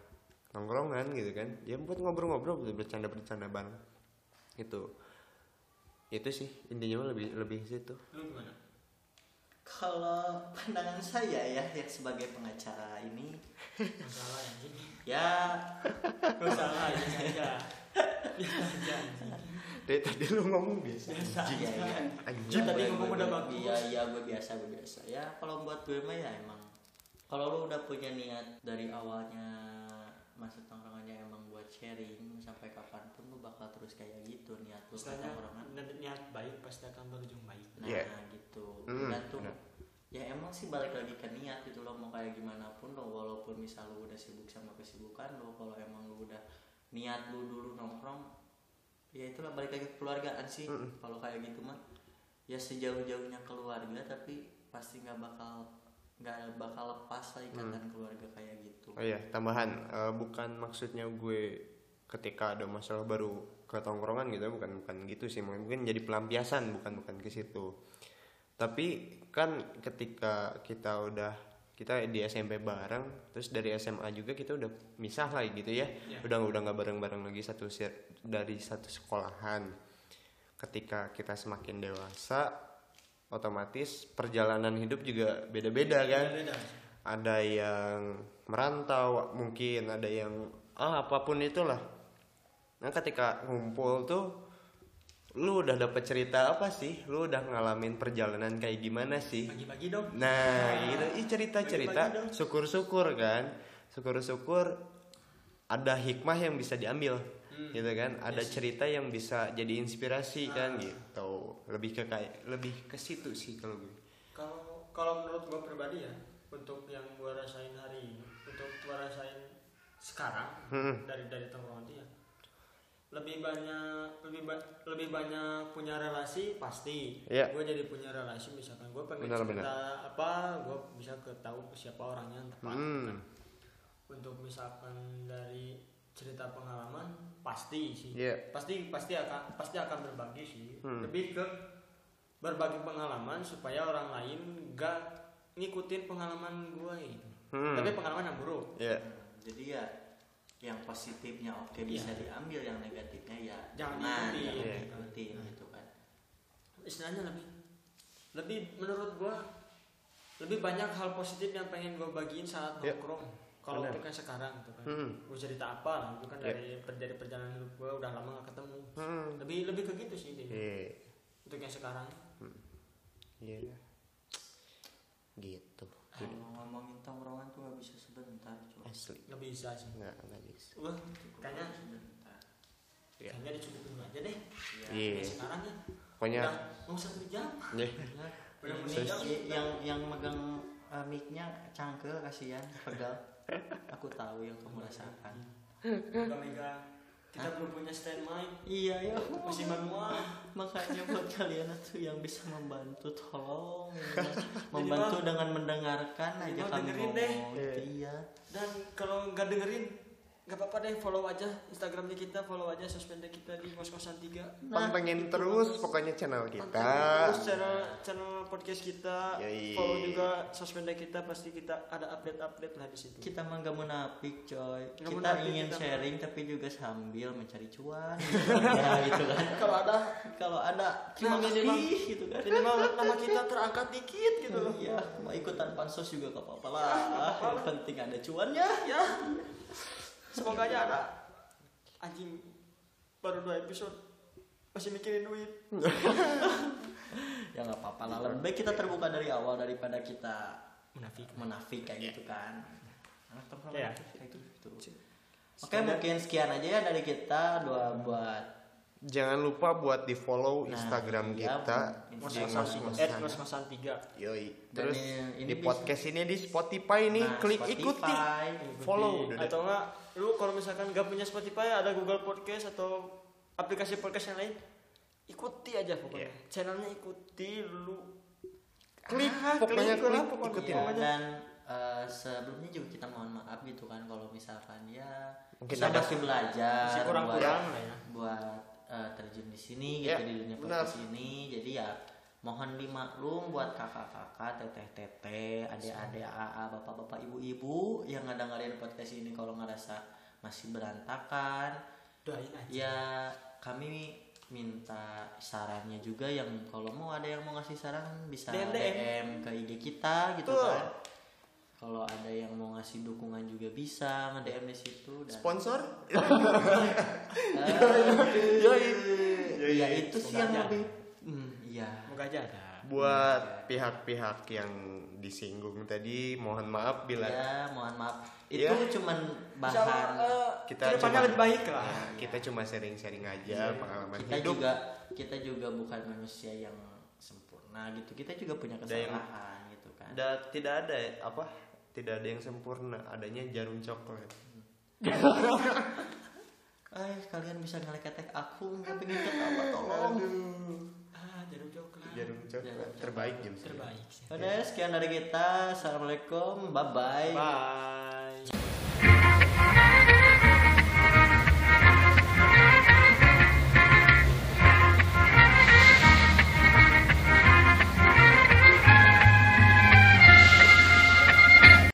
[SPEAKER 2] nongkrongan gitu kan ya buat ngobrol-ngobrol buat bercanda-bercanda bareng gitu itu sih intinya mah lebih lebih ke situ
[SPEAKER 1] Lu gimana?
[SPEAKER 3] kalau pandangan saya ya yang sebagai pengacara ini
[SPEAKER 1] Masalah anjing.
[SPEAKER 3] ya
[SPEAKER 1] Masalah ya, anjing aja. Biasa aja anjing.
[SPEAKER 2] dari tadi lu ngomong biasa
[SPEAKER 1] Biasa
[SPEAKER 3] ya,
[SPEAKER 2] anjing
[SPEAKER 1] aja.
[SPEAKER 2] anjing
[SPEAKER 1] Tadi
[SPEAKER 3] Gue-
[SPEAKER 1] ngomong
[SPEAKER 3] gue-
[SPEAKER 1] udah
[SPEAKER 3] gue-
[SPEAKER 1] bagus.
[SPEAKER 3] Iya, iya gue biasa, gue biasa. Ya kalau buat gue mah ya emang kalau lu udah punya niat dari awalnya masuk tongkrongannya emang buat sharing sampai kapanpun lu bakal terus kayak gitu niat lu ke
[SPEAKER 1] Istilahnya
[SPEAKER 3] tongkrongan.
[SPEAKER 1] niat- niat baik pasti akan berujung baik.
[SPEAKER 3] Nah
[SPEAKER 2] Iya.
[SPEAKER 3] gitu.
[SPEAKER 2] Hmm,
[SPEAKER 3] Dan tuh
[SPEAKER 2] benar.
[SPEAKER 3] ya emang sih balik lagi ke niat gitu loh mau kayak gimana pun lo walaupun misal lo udah sibuk sama kesibukan lo kalau emang lo udah niat lo dulu nongkrong ya itulah balik lagi ke keluargaan sih
[SPEAKER 2] Mm-mm.
[SPEAKER 3] kalau kayak gitu mah ya sejauh-jauhnya keluarga tapi pasti nggak bakal nggak bakal lepas lah
[SPEAKER 2] Hmm.
[SPEAKER 3] ikatan keluarga kayak gitu
[SPEAKER 2] oh iya tambahan eh, bukan maksudnya gue ketika ada masalah baru ke tongkrongan gitu ya, bukan bukan gitu sih mungkin jadi pelampiasan bukan bukan ke situ tapi kan ketika kita udah kita di SMP bareng terus dari SMA juga kita udah misah lagi gitu ya
[SPEAKER 1] Iya.
[SPEAKER 2] udah udah nggak bareng bareng lagi satu sir- dari satu sekolahan ketika kita semakin dewasa otomatis perjalanan hidup juga beda beda kan
[SPEAKER 1] Beda.
[SPEAKER 2] ada yang merantau mungkin ada yang ah, apapun itulah nah ketika ngumpul tuh lu udah dapet cerita apa sih lu udah ngalamin perjalanan kayak gimana sih
[SPEAKER 1] Bagi-bagi dong.
[SPEAKER 2] nah gitu ih cerita
[SPEAKER 1] Bagi-bagi
[SPEAKER 2] cerita
[SPEAKER 1] dong.
[SPEAKER 2] syukur syukur kan syukur syukur ada hikmah yang bisa diambil
[SPEAKER 1] Hmm.
[SPEAKER 2] gitu kan ada cerita yang bisa jadi inspirasi kan gitu lebih ke kayak lebih ke situ sih kalau gue
[SPEAKER 1] kalau kalau menurut gua pribadi ya untuk yang gua rasain hari ini untuk gua rasain sekarang
[SPEAKER 2] Hmm.
[SPEAKER 1] dari dari tongkrongan itu ya lebih banyak lebih ba- lebih banyak punya relasi pasti
[SPEAKER 2] Iya.
[SPEAKER 1] gue jadi punya relasi misalkan gue pengen
[SPEAKER 2] Benar,
[SPEAKER 1] cerita apa gue bisa ketahui siapa orangnya yang tepat
[SPEAKER 2] Hmm.
[SPEAKER 1] kan. untuk misalkan dari cerita pengalaman pasti sih
[SPEAKER 2] Iya.
[SPEAKER 1] pasti pasti akan pasti akan berbagi sih
[SPEAKER 2] Hmm.
[SPEAKER 1] lebih ke berbagi pengalaman supaya orang lain gak ngikutin pengalaman gue gitu
[SPEAKER 2] Hmm.
[SPEAKER 1] tapi pengalaman yang buruk
[SPEAKER 2] ya
[SPEAKER 3] jadi ya yang positifnya oke bisa diambil yang negatifnya ya
[SPEAKER 1] Iya. Jangan diikutin.
[SPEAKER 3] jangan
[SPEAKER 2] Iya.
[SPEAKER 3] diikutin gitu kan
[SPEAKER 1] istilahnya lebih lebih menurut gue lebih banyak hal positif yang pengen gue bagiin saat
[SPEAKER 2] Iya.
[SPEAKER 1] nongkrong kalau
[SPEAKER 2] Benar.
[SPEAKER 1] untuk yang sekarang gitu kan
[SPEAKER 2] Hmm.
[SPEAKER 1] gue cerita apa lah itu kan
[SPEAKER 2] Iya.
[SPEAKER 1] dari per- dari perjalanan hidup gue udah lama gak ketemu
[SPEAKER 2] Hmm.
[SPEAKER 1] lebih lebih ke gitu sih intinya.
[SPEAKER 2] Iya.
[SPEAKER 1] untuk yang sekarang
[SPEAKER 2] Iya. Gitu. Jadi, Eh,
[SPEAKER 3] Kalau ngomongin tongkrongan tuh gak bisa sebentar cuy.
[SPEAKER 2] Asli.
[SPEAKER 1] nggak bisa sih
[SPEAKER 2] Nggak, nggak bisa.
[SPEAKER 1] Wah, kayaknya
[SPEAKER 3] sebentar.
[SPEAKER 2] Iya.
[SPEAKER 1] kayaknya dicukupin dulu aja deh
[SPEAKER 2] Iya.
[SPEAKER 1] Yang sekarang ya
[SPEAKER 2] Pokoknya.
[SPEAKER 1] udah mau satu jam
[SPEAKER 2] Ya.
[SPEAKER 1] Udah
[SPEAKER 3] Ini
[SPEAKER 1] meninggal.
[SPEAKER 3] i-
[SPEAKER 2] Iya.
[SPEAKER 3] yang yang megang uh, mic-nya cangkel kasihan, pedal. Aku tahu yang kamu rasakan.
[SPEAKER 1] udah megang kita belum punya stand mic
[SPEAKER 3] Iya ya,
[SPEAKER 1] masih manual
[SPEAKER 3] makanya buat kalian tuh yang bisa membantu tolong ya. membantu
[SPEAKER 1] Minimal-
[SPEAKER 3] dengan mendengarkan aja
[SPEAKER 1] minimal
[SPEAKER 3] kami
[SPEAKER 1] dengerin deh.
[SPEAKER 3] ngomong gitu, iya
[SPEAKER 1] dan kalau nggak dengerin nggak apa-apa deh follow aja instagramnya kita follow aja sosmednya kita di kos kosan tiga
[SPEAKER 2] Pantengin terus pokoknya channel kita. Iya,
[SPEAKER 1] Pantengin terus channel channel podcast kita
[SPEAKER 2] Yoi.
[SPEAKER 1] follow juga sosmednya kita pasti kita ada update update lah di situ
[SPEAKER 3] kita mah gak munafik coy
[SPEAKER 1] Nggak
[SPEAKER 3] kita
[SPEAKER 1] munafik,
[SPEAKER 3] ingin
[SPEAKER 1] kita mah.
[SPEAKER 3] sharing tapi juga sambil mencari cuan ya gitu kan
[SPEAKER 1] kalau ada
[SPEAKER 3] kalau ada terima
[SPEAKER 1] Nah,
[SPEAKER 3] kasih
[SPEAKER 1] minimal.
[SPEAKER 3] gitu kan
[SPEAKER 1] minimal nama kita terangkat dikit gitu loh
[SPEAKER 3] iya mau ikutan pansos juga gak apa-apa lah yang penting ada cuannya
[SPEAKER 1] ya semoga aja ada anjing baru dua episode masih mikirin duit
[SPEAKER 3] ya nggak apa-apa
[SPEAKER 2] Gitu.
[SPEAKER 3] lah lebih baik kita terbuka dari awal daripada kita
[SPEAKER 1] munafik
[SPEAKER 3] menafik
[SPEAKER 2] Iya.
[SPEAKER 3] kayak gitu kan Gitu. anak tongkrongan
[SPEAKER 1] Iya.
[SPEAKER 3] kayak gitu oke mungkin sekian aja ya dari kita dua buat
[SPEAKER 2] Jangan lupa buat di follow
[SPEAKER 3] Nah,
[SPEAKER 2] Instagram
[SPEAKER 3] iya,
[SPEAKER 2] kita
[SPEAKER 3] Bu.
[SPEAKER 2] di
[SPEAKER 1] Mas Masan
[SPEAKER 2] Mas
[SPEAKER 1] eh,
[SPEAKER 2] Masan.
[SPEAKER 1] Mas Masan tiga.
[SPEAKER 2] Yoi.
[SPEAKER 4] Dan
[SPEAKER 2] Terus
[SPEAKER 4] yang ini
[SPEAKER 2] di
[SPEAKER 4] bisa.
[SPEAKER 2] podcast ini di Spotify nih,
[SPEAKER 3] Nah,
[SPEAKER 2] klik
[SPEAKER 3] Spotify,
[SPEAKER 2] ikuti, follow. Udah deh.
[SPEAKER 1] Atau enggak lu kalau misalkan gak punya Spotify ada Google Podcast atau aplikasi podcast yang lain ikuti aja pokoknya.
[SPEAKER 2] Iya.
[SPEAKER 1] Channelnya ikuti lu.
[SPEAKER 2] klik,
[SPEAKER 1] Ah,
[SPEAKER 2] pokoknya
[SPEAKER 1] klik,
[SPEAKER 2] klik,
[SPEAKER 1] lah, pokoknya.
[SPEAKER 2] ikutin.
[SPEAKER 3] Iya,
[SPEAKER 1] aja.
[SPEAKER 3] dan eh, sebelumnya juga kita mohon maaf gitu kan kalau misalkan ya
[SPEAKER 2] Mungkin
[SPEAKER 3] kita
[SPEAKER 2] ada-
[SPEAKER 3] masih belajar
[SPEAKER 1] masih kurang-kurang lah ya.
[SPEAKER 3] buat, buat eh, terjun di sini
[SPEAKER 2] Ya,
[SPEAKER 3] gitu di dunia
[SPEAKER 2] benar.
[SPEAKER 3] podcast ini jadi ya mohon dimaklum buat kakak-kakak, teteh-teteh, adik-adik, aa, bapak-bapak, ibu-ibu yang ngedengerin podcast ini kalau ngerasa masih berantakan,
[SPEAKER 1] Doain aja.
[SPEAKER 3] ya kami minta sarannya juga yang kalau mau ada yang mau ngasih saran bisa
[SPEAKER 1] DM.
[SPEAKER 3] DM, ke IG kita gitu
[SPEAKER 1] Betul.
[SPEAKER 3] kan kalau ada yang mau ngasih dukungan juga bisa nge DM di situ dan
[SPEAKER 2] Sponsor?
[SPEAKER 3] Eh,
[SPEAKER 2] Yoi. Yoi.
[SPEAKER 3] ya itu sih yang
[SPEAKER 1] Semoga
[SPEAKER 3] lebih Hmm, iya
[SPEAKER 1] Moga aja ada.
[SPEAKER 2] Buat pihak-pihak yang disinggung tadi, mohon maaf bila
[SPEAKER 3] ya mohon maaf itu
[SPEAKER 2] Iya.
[SPEAKER 3] cuman
[SPEAKER 1] Insya Allah,
[SPEAKER 3] bahan
[SPEAKER 1] eh,
[SPEAKER 2] kita
[SPEAKER 1] kedepannya
[SPEAKER 2] cuma-
[SPEAKER 1] lebih baik lah.
[SPEAKER 2] Ya, kita cuma sharing-sharing aja pengalaman
[SPEAKER 3] kita
[SPEAKER 2] hidup.
[SPEAKER 3] juga kita juga bukan manusia yang sempurna gitu kita juga punya
[SPEAKER 2] Ada yang-
[SPEAKER 3] kesalahan gitu kan
[SPEAKER 2] Da- tidak ada apa? Tidak ada yang sempurna, adanya jarum coklat.
[SPEAKER 3] Eh, kalian bisa ngeleketek aku, nggak pengen ketawa, tolong.
[SPEAKER 1] Ah, jarum coklat.
[SPEAKER 2] Jarum coklat
[SPEAKER 3] coklat.
[SPEAKER 2] terbaik James.
[SPEAKER 1] Terbaik sih.
[SPEAKER 3] Udah, sekian dari kita. Assalamualaikum, bye-bye.
[SPEAKER 2] Bye.